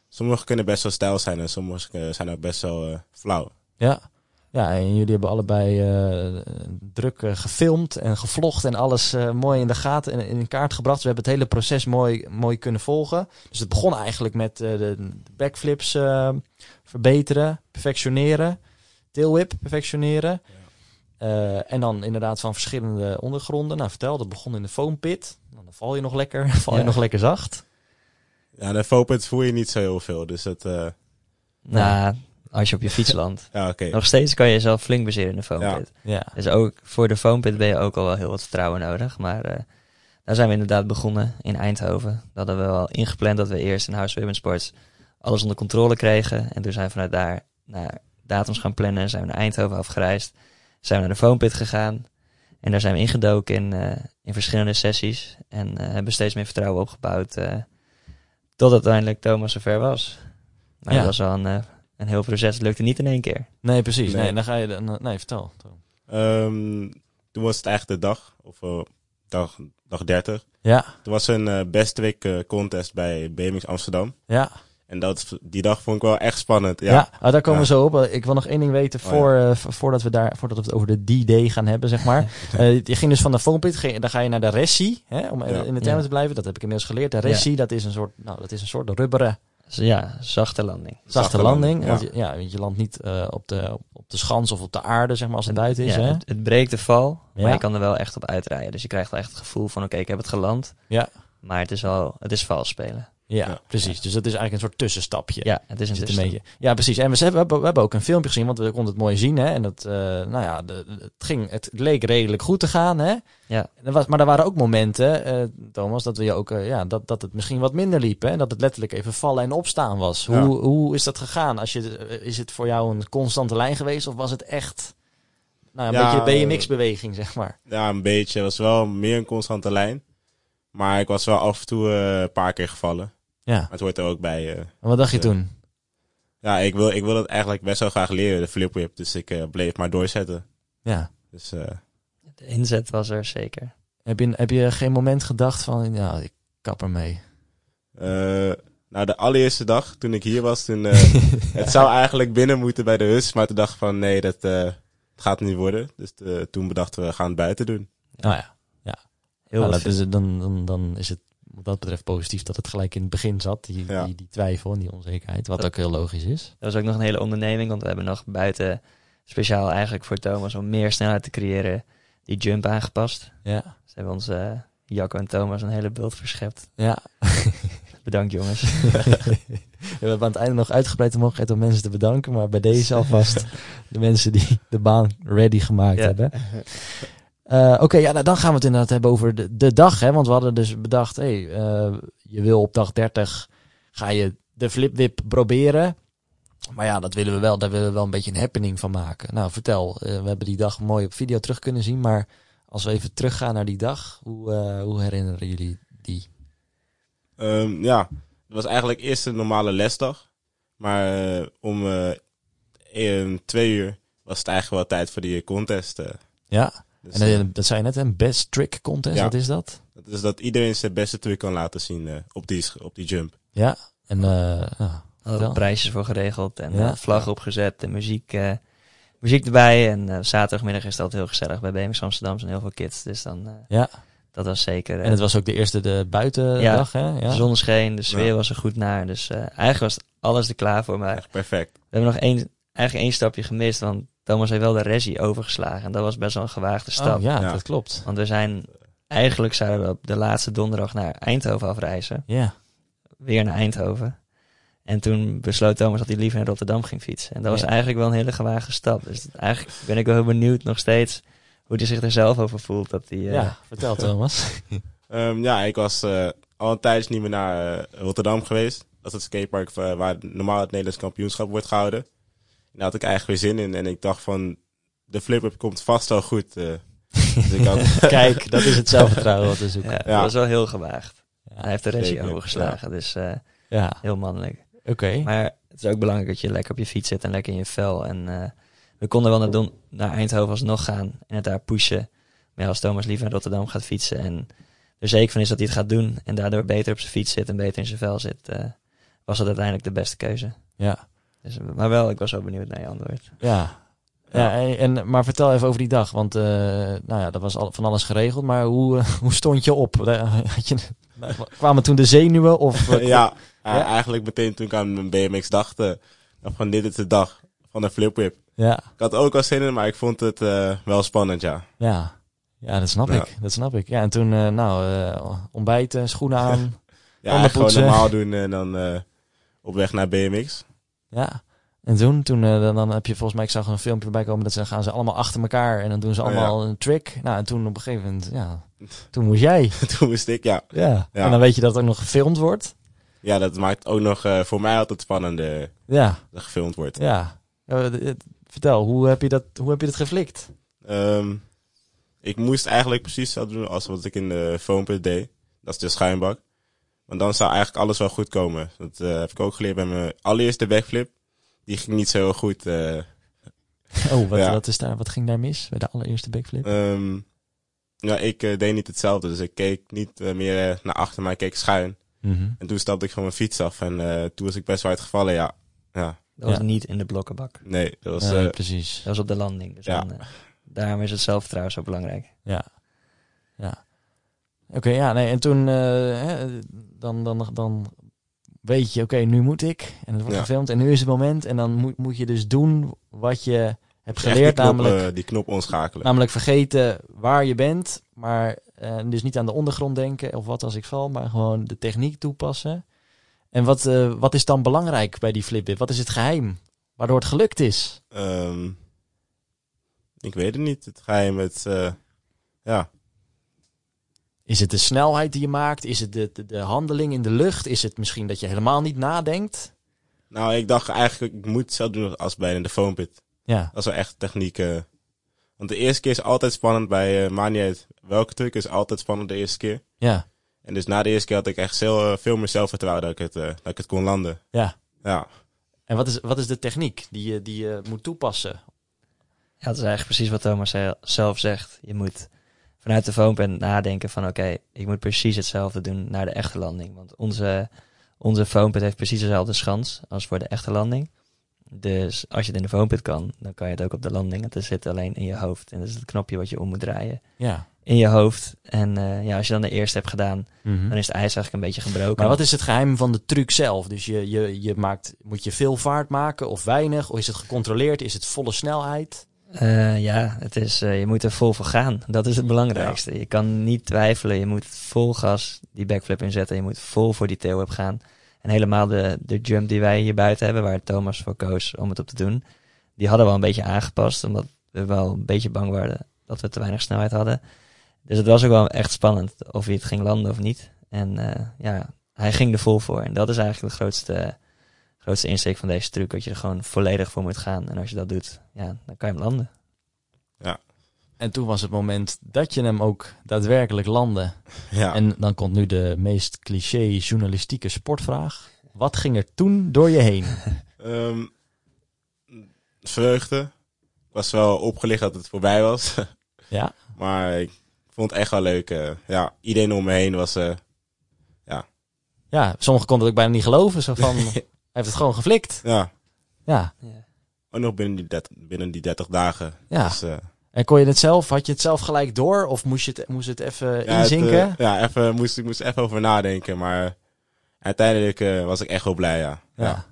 [SPEAKER 1] sommige kunnen best wel stijl zijn en sommige eh, zijn ook best wel eh, flauw.
[SPEAKER 2] Ja. Ja, en jullie hebben allebei eh, druk eh, gefilmd en gevlogd en alles eh, mooi in de gaten en in kaart gebracht. We hebben het hele proces mooi, mooi kunnen volgen. Dus het begon eigenlijk met eh, de backflips eh, verbeteren, perfectioneren, tailwhip perfectioneren. Eh, en dan inderdaad van verschillende ondergronden. Nou, vertel, dat begon in de foam pit. Dan val je nog lekker, <laughs> val je
[SPEAKER 3] Ja.
[SPEAKER 2] nog lekker zacht.
[SPEAKER 1] Ja, de fopuit voel je niet zo heel veel. Dus dat... eh,
[SPEAKER 3] Nou, als je op je
[SPEAKER 2] <laughs>
[SPEAKER 3] fiets landt.
[SPEAKER 1] ja, oké.
[SPEAKER 3] Nog steeds kan je jezelf flink bezeren in de foampit.
[SPEAKER 2] Ja,
[SPEAKER 3] Dus ook voor de foampit ben je ook al wel heel wat vertrouwen nodig. Maar eh, daar zijn we inderdaad begonnen in Eindhoven. Dat hadden we al ingepland dat we eerst in House Women Sports alles onder controle kregen. En toen zijn we vanuit daar naar datums gaan plannen. Zijn we naar Eindhoven afgereisd. Zijn we naar de foampit gegaan. En daar zijn we ingedoken in, eh, in verschillende sessies. En eh, hebben steeds meer vertrouwen opgebouwd. eh, tot uiteindelijk Thomas zover was. Maar
[SPEAKER 2] Ja.
[SPEAKER 3] dat was wel een, eh, een heel proces. Het lukte niet in één keer.
[SPEAKER 2] nee, precies. Nee,
[SPEAKER 1] Nee.
[SPEAKER 2] dan ga je. dan- Nee, vertel.
[SPEAKER 1] Ehm, toen was het eigenlijk de dag, of eh, dag, dag 30.
[SPEAKER 2] Ja,
[SPEAKER 1] Toen was er een eh, Best Week eh, contest bij BMX Amsterdam.
[SPEAKER 2] ja,
[SPEAKER 1] En dat, die dag vond ik wel echt spannend.
[SPEAKER 2] ja.
[SPEAKER 1] Ja, ja.
[SPEAKER 2] Ah, daar komen we
[SPEAKER 1] Ja.
[SPEAKER 2] zo op. Eh, Ik wil nog één ding weten
[SPEAKER 1] Oh,
[SPEAKER 2] voor, eh, v- voordat, we daar, voordat we het over de D-Day gaan hebben, zeg maar. Eh, je ging dus van de foampit, ging- dan ga je naar de ressie, hè, om eh,
[SPEAKER 1] Ja.
[SPEAKER 2] in de termen
[SPEAKER 3] Ja.
[SPEAKER 2] te blijven. Dat heb ik inmiddels geleerd. De ressie, dat, is een soort, nou, dat is een soort rubberen,
[SPEAKER 3] Z- Dus Ja, zachte landing.
[SPEAKER 2] zachte
[SPEAKER 1] Zachte
[SPEAKER 2] landing.
[SPEAKER 1] landing,
[SPEAKER 2] Want je, ja, want je landt niet eh, op, de, op, op de schans of op de aarde, zeg maar, als het buiten is.
[SPEAKER 3] Ja,
[SPEAKER 2] hè?
[SPEAKER 3] Het, het breekt de val,
[SPEAKER 2] Ja.
[SPEAKER 3] maar je kan er wel echt op uitrijden. Dus je krijgt wel echt het gevoel van, oké, ik heb het geland.
[SPEAKER 2] Ja.
[SPEAKER 3] Maar het is wel, het is vals spelen.
[SPEAKER 2] Ja,
[SPEAKER 1] Ja.
[SPEAKER 2] precies. Dus dat is eigenlijk een soort tussenstapje.
[SPEAKER 3] Ja, het is een
[SPEAKER 2] Zit een
[SPEAKER 3] tussenstand.
[SPEAKER 2] beetje. Ja, precies. En we, ze- we, hebben, we hebben ook een filmpje gezien, want we konden het mooi zien. Hè? En dat, eh, nou ja, de, het, ging, het leek redelijk goed te gaan. Hè?
[SPEAKER 3] Ja.
[SPEAKER 2] Er was, maar er waren ook momenten, eh, Thomas, dat, we je ook, eh, ja, dat, dat het misschien wat minder liep. Hè? Dat het letterlijk even vallen en opstaan was.
[SPEAKER 1] Ja.
[SPEAKER 2] Hoe, hoe is dat gegaan? Als je, eh, is het voor jou een constante lijn geweest? Of was het echt nou, een
[SPEAKER 1] Ja,
[SPEAKER 2] beetje BMX-beweging, zeg maar?
[SPEAKER 1] een beetje. Het was wel meer een constante lijn. Maar ik was wel af en toe eh, een paar keer gevallen.
[SPEAKER 2] Ja.
[SPEAKER 1] Maar het hoort er ook bij. eh.
[SPEAKER 2] En wat dacht je
[SPEAKER 1] Ja.
[SPEAKER 2] toen?
[SPEAKER 1] ja, ik wil, ik wil dat eigenlijk best wel graag leren, de flip whip. Dus ik eh, bleef maar doorzetten.
[SPEAKER 2] Ja.
[SPEAKER 1] Dus eh,
[SPEAKER 3] De inzet was er zeker.
[SPEAKER 2] Heb, je, heb je geen moment gedacht van, nou, ik kap ermee?
[SPEAKER 1] Eh, nou, de allereerste dag toen ik hier was, toen,
[SPEAKER 2] <laughs>
[SPEAKER 1] eh, het zou eigenlijk binnen moeten bij de hus. Maar toen dacht ik van nee, dat eh, het gaat niet worden. Dus eh, toen bedachten we, we gaan het buiten doen.
[SPEAKER 2] Nou ja,
[SPEAKER 3] Heel
[SPEAKER 2] nou,
[SPEAKER 3] wat
[SPEAKER 2] dat is, het- dan, dan, dan is het wat dat betreft positief dat het gelijk in het begin zat. Die,
[SPEAKER 1] Ja.
[SPEAKER 2] die, die twijfel en die onzekerheid. Wat
[SPEAKER 3] Dat-
[SPEAKER 2] ook heel logisch is.
[SPEAKER 3] Dat was ook nog een hele onderneming, want we hebben nog buiten speciaal eigenlijk voor Thomas om meer snelheid te creëren die jump aangepast.
[SPEAKER 2] Ja.
[SPEAKER 3] Ze hebben ons, eh, Jacco en Thomas, een hele beeld verschept.
[SPEAKER 2] Ja.
[SPEAKER 3] Bedankt jongens.
[SPEAKER 2] <laughs> We hebben aan het einde nog uitgebreid de mogelijkheid om mensen te bedanken. Maar bij deze alvast de mensen die de baan ready gemaakt
[SPEAKER 3] Ja.
[SPEAKER 2] hebben. Eh, Oké, ja, nou, dan gaan we het inderdaad hebben over de, de dag. Hè? Want we hadden dus bedacht, hey, eh, je wil op dag 30 ga je de flipwip proberen. Maar ja, dat willen we wel, daar willen we wel een beetje een happening van maken. Nou, vertel, eh, we hebben die dag mooi op video terug kunnen zien. Maar als we even teruggaan naar die dag, hoe, eh, hoe herinneren jullie die?
[SPEAKER 1] Ehm, ja, het was eigenlijk eerst een normale lesdag. Maar eh, om eh, eh, twee uur was het eigenlijk wel tijd voor die contest. eh.
[SPEAKER 2] Ja,
[SPEAKER 1] Dus,
[SPEAKER 2] en eh,
[SPEAKER 1] eh,
[SPEAKER 2] dat zei je net, een best trick contest,
[SPEAKER 1] Ja.
[SPEAKER 2] wat is dat?
[SPEAKER 1] dat is dat iedereen zijn beste truc kan laten zien eh, op, die, sch- op die jump.
[SPEAKER 2] Ja, en eh, ja,
[SPEAKER 3] Hadden
[SPEAKER 2] Vertel.
[SPEAKER 3] we prijsjes voor geregeld en
[SPEAKER 2] Ja.
[SPEAKER 3] eh, vlag opgezet en muziek, eh, muziek erbij. En eh, zaterdagmiddag is dat heel gezellig bij BMX Amsterdam en heel veel kids. Dus dan, eh,
[SPEAKER 2] Ja.
[SPEAKER 3] dat was zeker. eh,
[SPEAKER 2] en het was ook de eerste de buitendag, hè?
[SPEAKER 3] de
[SPEAKER 2] Ja. Oh,
[SPEAKER 3] zon scheen, de sfeer
[SPEAKER 1] Ja.
[SPEAKER 3] was er goed naar. Dus eh, eigenlijk was alles er klaar voor. Maar
[SPEAKER 1] Echt perfect.
[SPEAKER 3] we hebben nog één, eigenlijk één stapje gemist, want Thomas heeft wel de regie overgeslagen. En dat was best wel een gewaagde stap.
[SPEAKER 2] Oh, ja,
[SPEAKER 1] Ja.
[SPEAKER 2] dat klopt.
[SPEAKER 3] Want we zijn, eigenlijk zouden we op de laatste donderdag naar Eindhoven afreizen.
[SPEAKER 2] Ja,
[SPEAKER 3] weer naar Eindhoven. En toen besloot Thomas dat hij liever naar Rotterdam ging fietsen. En dat was
[SPEAKER 2] Ja.
[SPEAKER 3] eigenlijk wel een hele gewaagde stap. Dus dat- eigenlijk ben ik wel heel benieuwd nog steeds hoe hij zich er zelf over voelt. Dat hij, eh,
[SPEAKER 2] ja. vertel <laughs> Thomas.
[SPEAKER 1] Ehm, ja, ik was eh, al een tijdje niet meer naar eh, Rotterdam geweest. Dat is het skatepark waar waar normaal het Nederlands kampioenschap wordt gehouden. En daar had ik eigenlijk weer zin in. En ik dacht van, de flip-up komt vast wel goed.
[SPEAKER 2] <laughs>
[SPEAKER 1] eh. dus ik had
[SPEAKER 2] Kijk, dat is het zelfvertrouwen wat we
[SPEAKER 3] eh, <laughs>
[SPEAKER 2] <laughs>
[SPEAKER 3] ja,
[SPEAKER 2] zoeken.
[SPEAKER 3] dat
[SPEAKER 1] Ja.
[SPEAKER 3] was wel heel gewaagd. Hij heeft de regie
[SPEAKER 1] Zeker,
[SPEAKER 3] overgeslagen, dus eh,
[SPEAKER 2] Ja,
[SPEAKER 3] heel mannelijk.
[SPEAKER 2] oké.
[SPEAKER 3] Maar het is ook belangrijk dat je lekker op je fiets zit en lekker in je vel. En eh, we konden wel naar, Don- naar Eindhoven alsnog gaan en het daar pushen. Maar ja, als Thomas liever naar Rotterdam gaat fietsen en er zeker van is dat hij het gaat doen... en daardoor beter op zijn fiets zit en beter in zijn vel zit... eh, was dat uiteindelijk de beste keuze.
[SPEAKER 2] Ja,
[SPEAKER 3] Dus, maar wel, ik was wel benieuwd naar je antwoord.
[SPEAKER 2] ja. Ja, en, en- maar vertel even over die dag, want eh, nou ja, dat was al, van alles geregeld, maar hoe, eh, <laughs> hoe stond je op? Had je, <laughs> kwamen toen de zenuwen <laughs> of...
[SPEAKER 1] ja,
[SPEAKER 2] Ja?
[SPEAKER 1] eh, eigenlijk meteen toen ik aan mijn BMX dacht, eh, dacht van dit is de dag van de flipwip.
[SPEAKER 2] Ja,
[SPEAKER 1] Ik had ook al zin in, maar ik vond het eh, wel spannend, ja.
[SPEAKER 2] ja. ja dat snap
[SPEAKER 1] Ja.
[SPEAKER 2] ik, dat snap ik. Ja, en toen, eh, nou, eh, ontbijten, schoenen aan,
[SPEAKER 1] Ja,
[SPEAKER 2] Handen
[SPEAKER 1] eigenlijk gewoon
[SPEAKER 2] poetsen.
[SPEAKER 1] normaal doen en dan eh, op weg naar BMX.
[SPEAKER 2] Ja. En toen, toen eh, dan, dan heb je volgens mij, ik zag een filmpje bij komen, dat ze dan gaan ze allemaal achter elkaar en dan doen ze
[SPEAKER 1] Oh, ja.
[SPEAKER 2] allemaal een trick. Nou, en toen op een gegeven moment, ja,
[SPEAKER 1] <laughs>
[SPEAKER 2] toen moest jij.
[SPEAKER 1] <laughs> toen moest ik, ja.
[SPEAKER 2] Ja.
[SPEAKER 1] Ja.
[SPEAKER 2] En dan weet je dat het ook nog gefilmd wordt.
[SPEAKER 1] Ja, dat maakt ook nog eh, voor mij altijd spannender eh,
[SPEAKER 2] Ja,
[SPEAKER 1] dat gefilmd wordt.
[SPEAKER 2] ja. Eh, d- d- vertel, hoe heb je dat, hoe heb je dat
[SPEAKER 1] <laughs>
[SPEAKER 2] geflikt?
[SPEAKER 1] Ehm, ik moest eigenlijk precies hetzelfde doen als wat ik in de foampit deed. Dat is de schuimbak. Want dan zou eigenlijk alles wel goed komen. Dat eh, heb ik ook geleerd bij mijn allereerste backflip. Die ging niet zo heel goed. eh,
[SPEAKER 2] Oh, wat,
[SPEAKER 1] Ja.
[SPEAKER 2] wat, is daar, wat ging daar mis bij de allereerste backflip?
[SPEAKER 1] Ehm ja, ik eh, deed niet hetzelfde, dus ik keek niet eh, meer eh, naar achter, maar ik keek schuin.
[SPEAKER 2] Mhm.
[SPEAKER 1] En toen stapte ik van mijn fiets af en eh, toen was ik best wel uitgevallen, ja. Ja,
[SPEAKER 3] Dat was
[SPEAKER 2] Ja.
[SPEAKER 3] niet in de blokkenbak.
[SPEAKER 1] nee, dat was...
[SPEAKER 2] Nee,
[SPEAKER 1] eh,
[SPEAKER 2] precies.
[SPEAKER 3] Dat was op de landing. Dus
[SPEAKER 1] Ja.
[SPEAKER 3] dan, eh, daarom is het zelfvertrouwen zo belangrijk.
[SPEAKER 2] Ja. Ja. Oké, ja, nee, en toen, eh, hè, dan, dan, dan weet je, oké, nu moet ik. En het wordt
[SPEAKER 1] Ja.
[SPEAKER 2] gefilmd en nu is het moment. En dan moet, moet je dus doen wat je hebt
[SPEAKER 1] echt
[SPEAKER 2] geleerd,
[SPEAKER 1] die knop,
[SPEAKER 2] namelijk, Nou.
[SPEAKER 1] eh, die knop onschakelen.
[SPEAKER 2] namelijk vergeten waar je bent. Maar eh, dus niet aan de ondergrond denken of wat als ik val, maar gewoon de techniek toepassen. En wat, eh, wat is dan belangrijk bij die flipdip? Wat is het geheim waardoor het gelukt is?
[SPEAKER 1] Ehm, ik weet het niet, het geheim, het... eh, ja,
[SPEAKER 2] Is het de snelheid die je maakt? Is het de, de, de handeling in de lucht? Is het misschien dat je helemaal niet nadenkt?
[SPEAKER 1] nou, ik dacht eigenlijk, ik moet hetzelfde doen als bij de foampit.
[SPEAKER 2] Ja,
[SPEAKER 1] Dat is wel echt techniek. eh. want de eerste keer is altijd spannend bij, eh maakt niet uit welke truc, is altijd spannend de eerste keer.
[SPEAKER 2] ja,
[SPEAKER 1] En dus na de eerste keer had ik echt veel, eh, veel meer zelfvertrouwen dat ik het, eh, dat ik het kon landen.
[SPEAKER 2] ja.
[SPEAKER 1] Ja,
[SPEAKER 2] En wat is, wat is de techniek die je, die je moet toepassen?
[SPEAKER 3] Ja, dat is eigenlijk precies wat Thomas zei- zelf zegt. Je moet vanuit de foampen nadenken van oké, ik moet precies hetzelfde doen naar de echte landing. Want onze, onze foampit heeft precies dezelfde schans als voor de echte landing. Dus als je het in de foampit kan, dan kan je het ook op de landing. Het zit alleen in je hoofd. En dat is het knopje wat je om moet draaien.
[SPEAKER 2] Ja.
[SPEAKER 3] In je hoofd. En eh, ja, als je dan de eerste hebt gedaan, dan is het ijs eigenlijk een beetje gebroken.
[SPEAKER 2] Mhm. Maar wat is het geheim van de truc zelf? Dus je, je, je maakt, moet je veel vaart maken of weinig? Of is het gecontroleerd? Is het volle snelheid?
[SPEAKER 3] Eh, ja, het is, eh, je moet er vol voor gaan. Dat is het belangrijkste. Je kan niet twijfelen. Je moet vol gas die backflip inzetten. Je moet vol voor die tailwhip gaan. En helemaal de, de jump die wij hier buiten hebben, waar Thomas voor koos om het op te doen, die hadden we al een beetje aangepast. Omdat we wel een beetje bang waren dat we te weinig snelheid hadden. Dus het was ook wel echt spannend of hij het ging landen of niet. En eh, ja, hij ging er vol voor. En dat is eigenlijk de grootste, grootste insteek van deze truc. Dat je er gewoon volledig voor moet gaan. En als je dat doet, ja, dan kan je hem landen.
[SPEAKER 2] En toen was het moment dat je hem ook daadwerkelijk landde.
[SPEAKER 1] Ja.
[SPEAKER 2] En dan komt nu de meest cliché journalistieke sportvraag. Wat ging er toen door je heen?
[SPEAKER 1] Ehm, vreugde. Ik was wel opgelicht dat het voorbij was.
[SPEAKER 2] <laughs>
[SPEAKER 1] <laughs>
[SPEAKER 2] Ja.
[SPEAKER 1] maar ik vond het echt wel leuk. eh. ja, iedereen om me heen was... eh,
[SPEAKER 2] Ja, sommigen konden het ook bijna niet geloven. Zo <laughs> van, hij heeft het gewoon geflikt.
[SPEAKER 1] ja,
[SPEAKER 2] Ja,
[SPEAKER 1] ook nog binnen die, 30 binnen die 30 dagen.
[SPEAKER 2] ja.
[SPEAKER 1] Dus, eh,
[SPEAKER 2] En kon je het zelf, had je het zelf gelijk door? Of moest je het, moest het even
[SPEAKER 1] ja, het,
[SPEAKER 2] inzinken?
[SPEAKER 1] eh, ja, even, moest, ik moest even over nadenken. Maar eh, uiteindelijk eh, was ik echt wel blij, ja.
[SPEAKER 2] ja.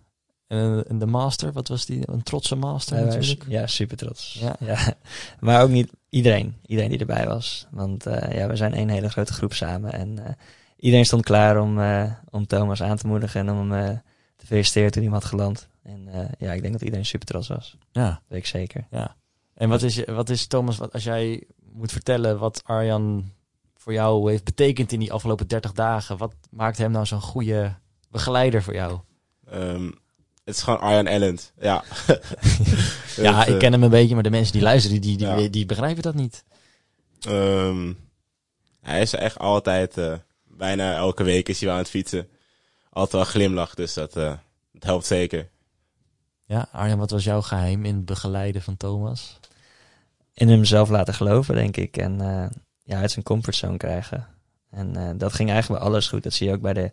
[SPEAKER 2] En, en de master, wat was die? Een trotse master
[SPEAKER 3] Wij waren
[SPEAKER 2] natuurlijk.
[SPEAKER 3] su- Ja, super trots.
[SPEAKER 2] Ja.
[SPEAKER 3] Ja. <laughs> Maar ook niet iedereen, iedereen die erbij was. Want eh, ja, we zijn één hele grote groep samen. En eh, iedereen stond klaar om, eh, om Thomas aan te moedigen en om hem eh, te feliciteren toen hij hem had geland. En eh, ja, ik denk dat iedereen super trots was.
[SPEAKER 2] Ja.
[SPEAKER 3] Dat weet ik zeker.
[SPEAKER 2] Ja. En wat is, je- wat is Thomas, wat, als jij moet vertellen wat Arjan voor jou heeft betekend in die afgelopen 30 dagen, wat maakt hem nou zo'n goede begeleider voor jou?
[SPEAKER 1] Ehm, het is gewoon Arjan Ellend. Ja,
[SPEAKER 2] <laughs> ja,
[SPEAKER 1] Het,
[SPEAKER 2] ik
[SPEAKER 1] eh,
[SPEAKER 2] ken hem een beetje, maar de mensen die luisteren, die, die,
[SPEAKER 1] Ja.
[SPEAKER 2] die, die begrijpen dat niet.
[SPEAKER 1] Ehm, hij is er echt altijd, eh, bijna elke week is hij wel aan het fietsen. Altijd wel glimlach, dus dat, eh, dat helpt zeker.
[SPEAKER 2] Ja, Arjan, wat was jouw geheim in het begeleiden van Thomas?
[SPEAKER 3] In hemzelf laten geloven, denk ik. En eh, ja, uit zijn comfortzone krijgen. En eh, dat ging eigenlijk bij alles goed. Dat zie je ook bij de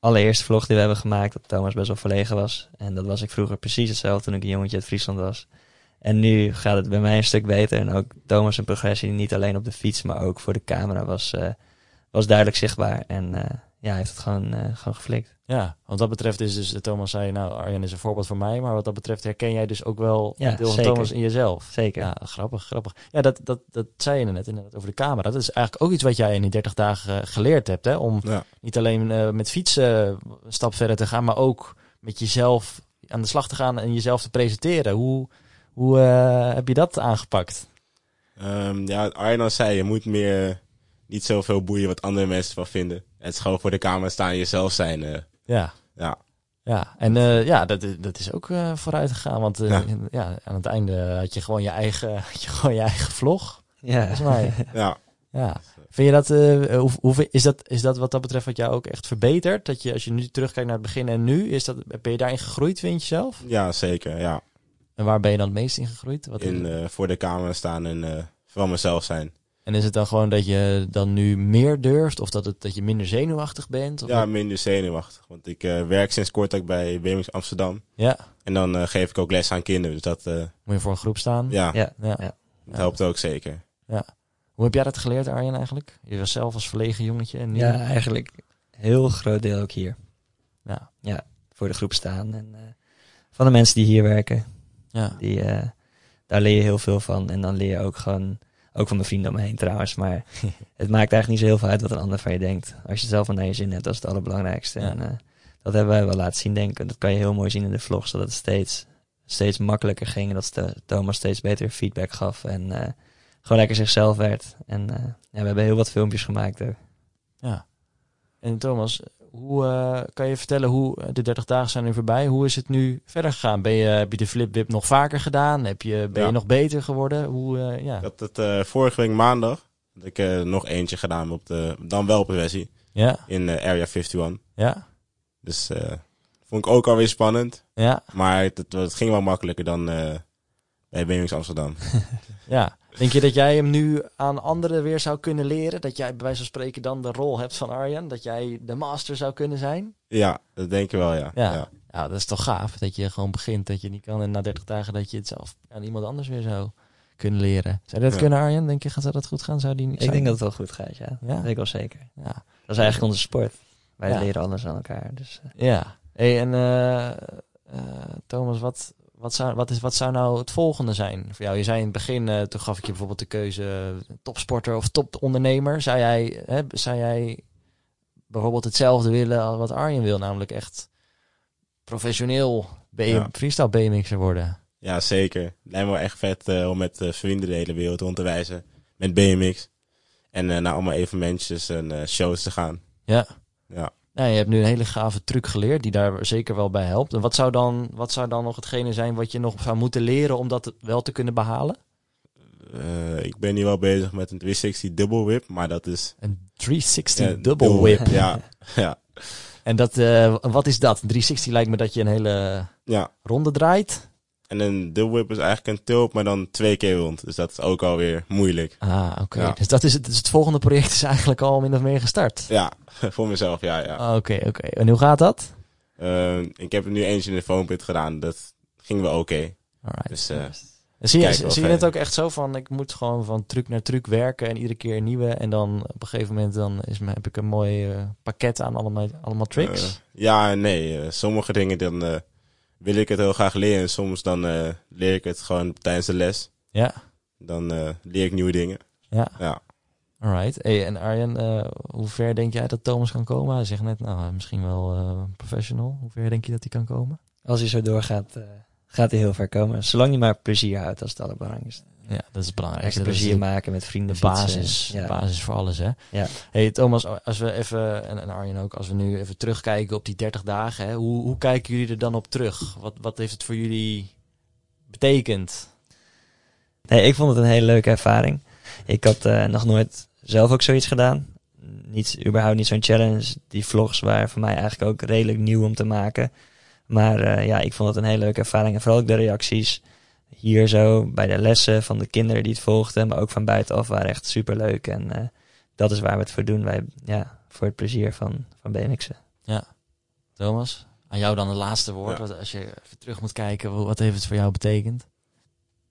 [SPEAKER 3] allereerste vlog die we hebben gemaakt. Dat Thomas best wel verlegen was. En dat was ik vroeger precies hetzelfde toen ik een jongetje uit Friesland was. En nu gaat het bij mij een stuk beter. En ook Thomas' zijn progressie, niet alleen op de fiets, maar ook voor de camera, was, eh, was duidelijk zichtbaar. En eh, ja, hij heeft het gewoon, eh, gewoon geflikt.
[SPEAKER 2] Ja, want dat betreft is dus, Thomas zei, nou Arjan is een voorbeeld voor mij, maar wat dat betreft herken jij dus ook wel
[SPEAKER 3] Ja,
[SPEAKER 2] een deel van
[SPEAKER 3] zeker.
[SPEAKER 2] Thomas in jezelf.
[SPEAKER 3] Zeker.
[SPEAKER 2] Ja, grappig, grappig. Ja, dat, dat, dat zei je net inderdaad over de camera. Dat is eigenlijk ook iets wat jij in die 30 dagen eh, geleerd hebt. Hè? Om
[SPEAKER 1] Ja.
[SPEAKER 2] niet alleen eh, met fietsen een stap verder te gaan, maar ook met jezelf aan de slag te gaan en jezelf te presenteren. Hoe, hoe eh, heb je dat aangepakt?
[SPEAKER 1] Ehm, ja, wat Arjan al zei, je moet meer eh, niet zoveel boeien wat andere mensen van vinden. Het is gewoon voor de camera staan en jezelf zijn. eh.
[SPEAKER 2] Ja.
[SPEAKER 1] Ja.
[SPEAKER 2] Ja, en eh, ja, dat, is- dat is ook eh, vooruit gegaan. Want eh,
[SPEAKER 1] Ja.
[SPEAKER 2] ja, aan het einde had je gewoon je eigen, <laughs> had je gewoon je eigen vlog.
[SPEAKER 3] Ja.
[SPEAKER 2] Volgens mij.
[SPEAKER 1] ja, Dus,
[SPEAKER 2] Ja. Vind je dat, eh, hoe, hoe- is dat, is dat wat dat betreft wat jou ook echt verbeterd? Dat je, als je nu terugkijkt naar het begin en nu, is dat, ben je daarin gegroeid, vind je zelf?
[SPEAKER 1] ja, zeker. Ja.
[SPEAKER 2] En waar ben je dan het meest in gegroeid? Wat
[SPEAKER 1] In, eh, voor de camera staan en eh, van mezelf zijn.
[SPEAKER 2] En is het dan gewoon dat je dan nu meer durft? Of dat, het, dat je minder zenuwachtig bent? Of
[SPEAKER 1] Ja, minder zenuwachtig. Want ik eh, werk sinds kort ook bij BMX Amsterdam.
[SPEAKER 2] ja.
[SPEAKER 1] En dan eh, geef ik ook les aan kinderen. Dus dat, eh,
[SPEAKER 2] Moet je voor een groep staan?
[SPEAKER 1] ja,
[SPEAKER 3] <laughs> Ja.
[SPEAKER 2] Ja.
[SPEAKER 3] Ja.
[SPEAKER 1] dat helpt ook zeker.
[SPEAKER 2] Hoe heb jij dat geleerd, Arjen, eigenlijk? Je was zelf als verlegen jongetje en nu...
[SPEAKER 3] ja, eigenlijk heel groot deel ook hier.
[SPEAKER 2] Ja.
[SPEAKER 3] Voor de groep staan. En eh, van de mensen die hier werken.
[SPEAKER 2] ja.
[SPEAKER 3] Die, eh, daar leer je heel veel van. En dan leer je ook gewoon, ook van mijn vrienden om me heen
[SPEAKER 2] <laughs>
[SPEAKER 3] trouwens. Maar het maakt eigenlijk niet zo heel veel uit wat een ander van je denkt. Als je het zelf wel naar je zin hebt, dat is het allerbelangrijkste.
[SPEAKER 2] Ja.
[SPEAKER 3] En eh, dat hebben wij wel laten zien, denk ik. En Dat kan je heel mooi zien in de vlogs. Dat het steeds, steeds makkelijker ging. En dat Sto- Thomas steeds beter feedback gaf. En eh, gewoon lekker zichzelf werd. En eh, ja, we hebben heel wat filmpjes gemaakt ook.
[SPEAKER 2] Ja. En Thomas, hoe eh, kan je vertellen hoe eh, de 30 dagen zijn nu voorbij? Hoe is het nu verder gegaan? Ben je, heb je de flipwip nog vaker gedaan? Heb je, ben
[SPEAKER 1] Ja.
[SPEAKER 2] je nog beter geworden? Hoe, eh, ja.
[SPEAKER 1] Ik had het eh, vorige week maandag. Had ik eh, nog eentje gedaan op de, dan wel op een versie.
[SPEAKER 2] ja,
[SPEAKER 1] In eh, Area 51.
[SPEAKER 2] ja,
[SPEAKER 1] Dus eh, vond ik ook alweer spannend.
[SPEAKER 2] ja,
[SPEAKER 1] Maar het, het- het ging wel makkelijker dan eh bij BMX Amsterdam. <laughs>
[SPEAKER 2] ja. Denk je dat jij hem nu aan anderen weer zou kunnen leren? Dat jij bij wijze van spreken dan de rol hebt van Arjan? Dat jij de master zou kunnen zijn?
[SPEAKER 1] Ja, dat denk ik wel, ja.
[SPEAKER 2] Ja.
[SPEAKER 1] ja.
[SPEAKER 2] Ja, dat is toch gaaf dat je gewoon begint dat je niet kan en na 30 dagen dat je het zelf aan iemand anders weer zou kunnen leren. Zou je dat
[SPEAKER 1] Ja.
[SPEAKER 2] kunnen, Arjan? Denk je, gaat dat goed gaan? Zou die niet
[SPEAKER 3] Ik denk dat het wel goed gaat, ja.
[SPEAKER 2] Ja.
[SPEAKER 3] Dat weet ik wel zeker.
[SPEAKER 2] Ja.
[SPEAKER 3] Dat is eigenlijk onze sport. Wij
[SPEAKER 2] Ja.
[SPEAKER 3] leren alles aan elkaar. Dus eh,
[SPEAKER 2] ja. Hey, en eh, eh, Thomas, wat, wat, zou, wat, is, wat zou nou het volgende zijn voor jou? Je zei in het begin, eh, toen gaf ik je bijvoorbeeld de keuze eh, topsporter of topondernemer. Zou jij, hè, zou jij bijvoorbeeld hetzelfde willen als wat Arjen wil, namelijk echt professioneel BM,
[SPEAKER 1] Ja.
[SPEAKER 2] freestyle BMX'er worden?
[SPEAKER 1] Ja, zeker. Lijkt me wel echt vet eh, om met eh, vrienden de hele wereld rond te reizen. Met BMX. En eh, naar allemaal evenementjes en eh, shows te gaan.
[SPEAKER 2] Ja.
[SPEAKER 1] Ja.
[SPEAKER 2] Nou, je hebt nu een hele gave truc geleerd die daar zeker wel bij helpt. En wat zou dan, wat zou dan nog hetgene zijn wat je nog zou moeten leren om dat wel te kunnen behalen?
[SPEAKER 1] Eh, ik ben nu wel bezig met een 360 double whip, maar dat is...
[SPEAKER 2] Een 360
[SPEAKER 1] eh,
[SPEAKER 2] double whip.
[SPEAKER 1] Ja, ja,
[SPEAKER 2] En dat, eh, wat is dat? 360 lijkt me dat je een hele
[SPEAKER 1] ja.
[SPEAKER 2] ronde draait.
[SPEAKER 1] En een double whip is eigenlijk een tulp, maar dan twee keer rond. Dus dat is ook alweer moeilijk.
[SPEAKER 2] Ah, oké.
[SPEAKER 1] Ja.
[SPEAKER 2] Dus dat is het, dus het volgende project is eigenlijk al min of meer gestart.
[SPEAKER 1] Ja, <laughs> voor mezelf, ja, ja.
[SPEAKER 2] Ah, Oké, oké. En hoe gaat dat?
[SPEAKER 1] Eh, ik heb er nu eentje in de foampit gedaan. Dat ging wel oké.
[SPEAKER 2] Alright.
[SPEAKER 1] Dus eh,
[SPEAKER 2] En zie je,
[SPEAKER 1] kijk wel
[SPEAKER 2] zie je het
[SPEAKER 1] verder.
[SPEAKER 2] ook echt zo van, ik moet gewoon van truc naar truc werken en iedere keer een nieuwe. En dan op een gegeven moment dan is, mijn- heb ik een mooi eh, pakket aan allemaal, allemaal tricks.
[SPEAKER 1] Eh, ja, en nee. eh, sommige dingen dan eh, wil ik het heel graag leren. En soms dan eh, leer ik het gewoon tijdens de les.
[SPEAKER 2] Ja,
[SPEAKER 1] Dan eh, leer ik nieuwe dingen.
[SPEAKER 2] ja.
[SPEAKER 1] Ja.
[SPEAKER 2] Alright. Hey, en Arjen, eh, hoe ver denk jij dat Thomas kan komen? Hij zegt net, nou, eh, misschien wel eh, professional. Hoe ver denk je dat hij kan komen?
[SPEAKER 3] als hij zo doorgaat, eh, gaat hij heel ver komen. Zolang hij maar plezier houdt, als het allerbelangrijkste.
[SPEAKER 2] Ja, dat is het belangrijkste.
[SPEAKER 3] Echt
[SPEAKER 2] Dat is
[SPEAKER 3] plezier
[SPEAKER 2] de-
[SPEAKER 3] maken met vrienden.
[SPEAKER 2] De
[SPEAKER 3] fietsen.
[SPEAKER 2] basis,
[SPEAKER 3] eh, Ja.
[SPEAKER 2] de basis voor alles, hè?
[SPEAKER 3] Ja.
[SPEAKER 2] Hey Thomas, als we even, en en Arjen ook, als we nu even terugkijken op die 30 dagen, hè, hoe, hoe kijken jullie er dan op terug? Wat, wat heeft het voor jullie betekend?
[SPEAKER 3] Nee, ik vond het een hele leuke ervaring. Ik had eh, nog nooit zelf ook zoiets gedaan. Niet, überhaupt niet zo'n challenge. Die vlogs waren voor mij eigenlijk ook redelijk nieuw om te maken. Maar eh, ja, ik vond het een hele leuke ervaring. En vooral ook de reacties hier zo bij de lessen van de kinderen die het volgden. Maar ook van buitenaf waren echt super leuk. En eh, dat is waar we het voor doen. Wij, ja, voor het plezier van, van BMX'en.
[SPEAKER 2] Thomas, aan jou dan het laatste woord.
[SPEAKER 1] Ja.
[SPEAKER 2] Want als je even terug moet kijken, hoe- wat heeft het voor jou betekend?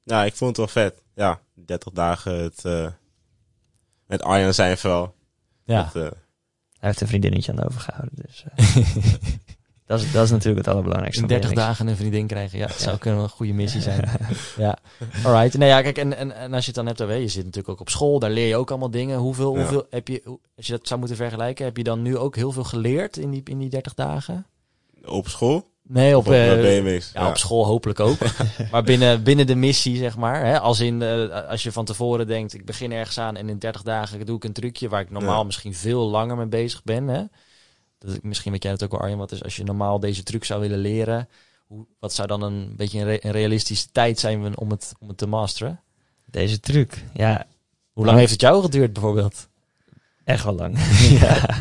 [SPEAKER 1] Nou, ik vond het wel vet. Ja, 30 dagen het, eh, met Arjan zijn vooral.
[SPEAKER 2] Ja,
[SPEAKER 1] Dat, eh,
[SPEAKER 3] Hij heeft een vriendinnetje aan overgehouden. Dus eh,
[SPEAKER 2] <laughs>
[SPEAKER 3] dat, is, dat is natuurlijk het allerbelangrijkste.
[SPEAKER 2] in
[SPEAKER 3] van
[SPEAKER 2] 30
[SPEAKER 3] BMX.
[SPEAKER 2] dagen een vriendin krijgen, ja, dat zou
[SPEAKER 3] Ja.
[SPEAKER 2] kunnen wel een goede missie zijn. ja, alright. Nee, ja, kijk, en, en, en als je het dan hebt, over, hè, je zit natuurlijk ook op school, daar leer je ook allemaal dingen. Hoeveel,
[SPEAKER 1] Ja.
[SPEAKER 2] hoeveel heb je, hoe- als je dat zou moeten vergelijken, heb je dan nu ook heel veel geleerd in die, in die 30 dagen?
[SPEAKER 1] op school?
[SPEAKER 2] Nee, op,
[SPEAKER 1] Op, op
[SPEAKER 2] eh,
[SPEAKER 1] BMX?
[SPEAKER 2] ja, op school hopelijk ook. maar binnen, binnen de missie, zeg maar. Hè? Als, in, eh, als je van tevoren denkt, ik begin ergens aan en in 30 dagen doe ik een trucje waar ik normaal
[SPEAKER 1] Ja.
[SPEAKER 2] misschien veel langer mee bezig ben. Hè? Dat, is- misschien weet jij dat ook wel, Arjen, wat is als je normaal deze truc zou willen leren. Hoe, wat zou dan een beetje een, re- een realistische tijd zijn om het, om het te masteren?
[SPEAKER 3] Deze truc. Ja,
[SPEAKER 2] Hoe lang heeft het jou geduurd bijvoorbeeld?
[SPEAKER 3] Echt wel lang. <laughs> ja.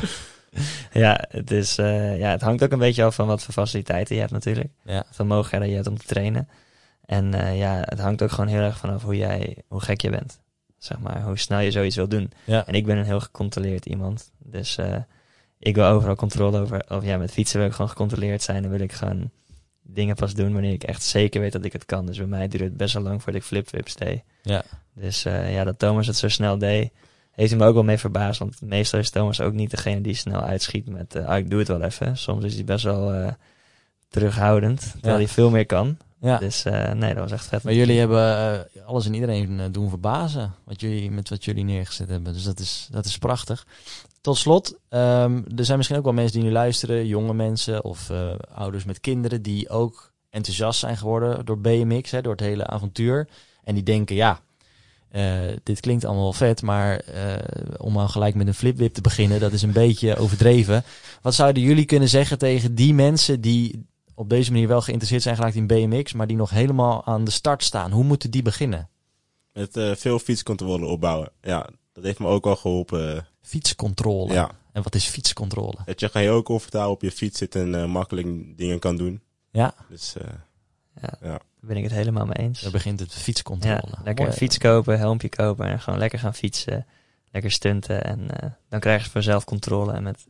[SPEAKER 3] Ja, het is, eh, ja, het hangt ook een beetje af van wat voor faciliteiten je hebt natuurlijk.
[SPEAKER 2] Ja.
[SPEAKER 3] Van mogelijkheden je hebt om te trainen. En eh, ja, het hangt ook gewoon heel erg vanaf hoe jij, hoe gek je bent. Zeg maar, hoe snel je zoiets wil doen.
[SPEAKER 2] Ja.
[SPEAKER 3] En ik ben een heel gecontroleerd iemand. Dus eh, ik wil overal controle over. Of ja, met fietsen wil ik gewoon gecontroleerd zijn. Dan wil ik gewoon dingen pas doen wanneer ik echt zeker weet dat ik het kan. Dus bij mij duurde het best wel lang voordat ik flip-flips deed.
[SPEAKER 2] Ja.
[SPEAKER 3] Dus eh, ja, dat Thomas het zo snel deed, heeft hij me ook wel mee verbaasd. Want meestal is Thomas ook niet degene die snel uitschiet met... eh, ah, ik doe het wel even. Soms is hij best wel eh, terughoudend, terwijl
[SPEAKER 2] Ja.
[SPEAKER 3] hij veel meer kan.
[SPEAKER 2] Ja.
[SPEAKER 3] <laughs> Dus eh, nee, dat was echt vet.
[SPEAKER 2] Maar jullie hebben eh, alles en iedereen eh, doen verbazen wat jullie, met wat jullie neergezet hebben. Dus dat is, dat is prachtig. Tot slot, ehm, er zijn misschien ook wel mensen die nu luisteren, jonge mensen of eh, ouders met kinderen, die ook enthousiast zijn geworden door BMX, hè, door het hele avontuur. En die denken, ja, eh, dit klinkt allemaal wel vet, maar eh, om al gelijk met een flipwip te beginnen, dat is een <laughs> beetje overdreven. Wat zouden jullie kunnen zeggen tegen die mensen die, op deze manier wel geïnteresseerd zijn geraakt in BMX, maar die nog helemaal aan de start staan. Hoe moeten die beginnen?
[SPEAKER 1] Met eh, veel fietscontrole opbouwen. Ja, dat heeft me ook wel geholpen. eh,
[SPEAKER 2] Fietscontrole.
[SPEAKER 1] ja.
[SPEAKER 2] En wat is fietscontrole?
[SPEAKER 1] Dat je gewoon heel comfortabel op je fiets zit en eh, makkelijk dingen kan doen.
[SPEAKER 2] Ja.
[SPEAKER 1] Dus eh,
[SPEAKER 3] Ja.
[SPEAKER 1] Ja.
[SPEAKER 3] Daar ben ik het helemaal mee eens.
[SPEAKER 2] Daar begint het
[SPEAKER 3] Ja,
[SPEAKER 2] fietscontrole.
[SPEAKER 3] lekker
[SPEAKER 2] Mooi.
[SPEAKER 3] een fiets kopen, helmpje kopen en gewoon lekker gaan fietsen. Lekker stunten en eh, dan krijgen ze vanzelf controle. En met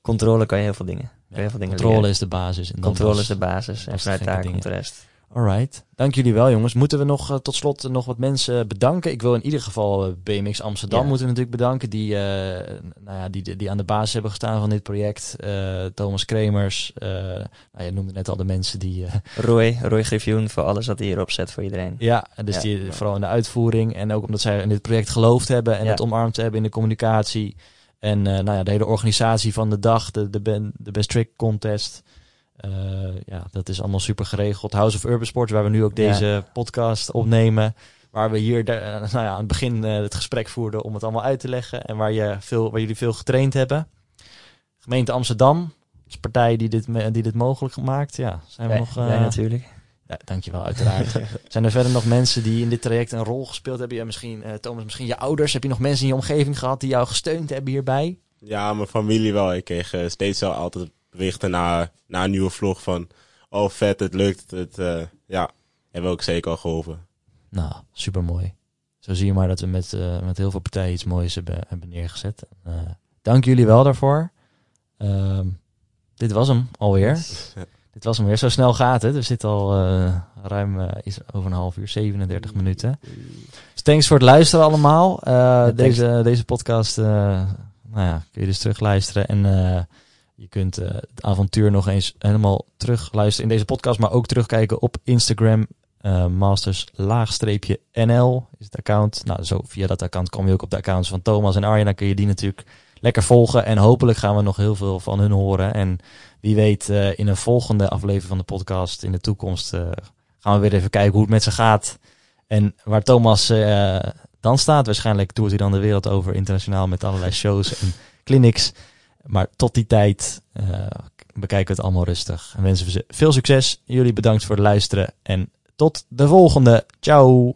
[SPEAKER 3] controle kan je heel veel dingen. Kan je
[SPEAKER 2] Ja,
[SPEAKER 3] heel veel dingen
[SPEAKER 2] Controle
[SPEAKER 3] leren.
[SPEAKER 2] is de basis. En dan
[SPEAKER 3] Controle
[SPEAKER 2] pas-
[SPEAKER 3] is de basis
[SPEAKER 2] dat
[SPEAKER 3] en
[SPEAKER 2] is
[SPEAKER 3] vanuit
[SPEAKER 2] de
[SPEAKER 3] daar
[SPEAKER 2] gekke
[SPEAKER 3] komt de rest.
[SPEAKER 2] Alright. Dank jullie wel, jongens. Moeten we nog eh, tot slot nog wat mensen bedanken? Ik wil in ieder geval eh, BMX Amsterdam
[SPEAKER 3] Ja.
[SPEAKER 2] moeten we natuurlijk bedanken. Die, eh, nou ja, die, die aan de basis hebben gestaan van dit project. Eh, Thomas Kremers. eh, nou, je noemde net al de mensen die... eh,
[SPEAKER 3] Roy, Roy Griffioen voor alles wat hij hierop zet voor iedereen.
[SPEAKER 2] ja, dus
[SPEAKER 3] Ja.
[SPEAKER 2] die vooral in de uitvoering. En ook omdat zij in dit project geloofd hebben. En
[SPEAKER 3] Ja.
[SPEAKER 2] het omarmd hebben in de communicatie. En eh, nou ja, de hele organisatie van de dag. De, de, ben, de Best Trick Contest. Eh, ja, dat is allemaal super geregeld. House of Urban Sports, waar we nu ook
[SPEAKER 3] Ja.
[SPEAKER 2] deze podcast opnemen. Waar we hier de- eh, nou ja, aan het begin eh, het gesprek voerden om het allemaal uit te leggen. En waar, je veel, waar jullie veel getraind hebben. Gemeente Amsterdam is partij die dit, me- die dit mogelijk maakt. Ja, zijn we
[SPEAKER 3] Jij-
[SPEAKER 2] nog...
[SPEAKER 3] jij
[SPEAKER 2] eh,
[SPEAKER 3] natuurlijk.
[SPEAKER 2] ja, dankjewel, uiteraard. Zijn er verder nog mensen die in dit traject een rol gespeeld hebben? Ja, misschien, eh, Thomas, misschien je ouders. Heb je nog mensen in je omgeving gehad die jou gesteund hebben hierbij?
[SPEAKER 1] Ja, mijn familie wel. Ik kreeg eh, steeds wel altijd berichten na, na een nieuwe vlog van... Oh, vet, het lukt. Het, eh, ja, hebben we ook zeker al geholpen.
[SPEAKER 2] Nou, supermooi. Zo zie je maar dat we met, eh, met heel veel partijen iets moois hebben, hebben neergezet. Eh, dank jullie wel daarvoor. Ehm, dit was hem alweer. Dit was hem weer. Zo snel gaat het. We zitten al eh, ruim eh, iets over een half uur, 37 minuten. Dus thanks voor het luisteren allemaal. Eh, deze, deze podcast eh, nou ja, kun je dus terugluisteren. En eh, je kunt eh, het avontuur nog eens helemaal terugluisteren in deze podcast. Maar ook terugkijken op Instagram. eh, masters-nl is het account. Nou, zo via dat account kom je ook op de accounts van Thomas en Arjen. Dan kun je die natuurlijk lekker volgen. En hopelijk gaan we nog heel veel van hun horen. En wie weet eh, in een volgende aflevering van de podcast in de toekomst... eh, gaan we weer even kijken hoe het met ze gaat. En waar Thomas eh, dan staat, waarschijnlijk toert hij dan de wereld over internationaal met allerlei shows en clinics. Maar tot die tijd eh, bekijken we het allemaal rustig. En wensen we ze veel succes. Jullie bedankt voor het luisteren en tot de volgende. Ciao.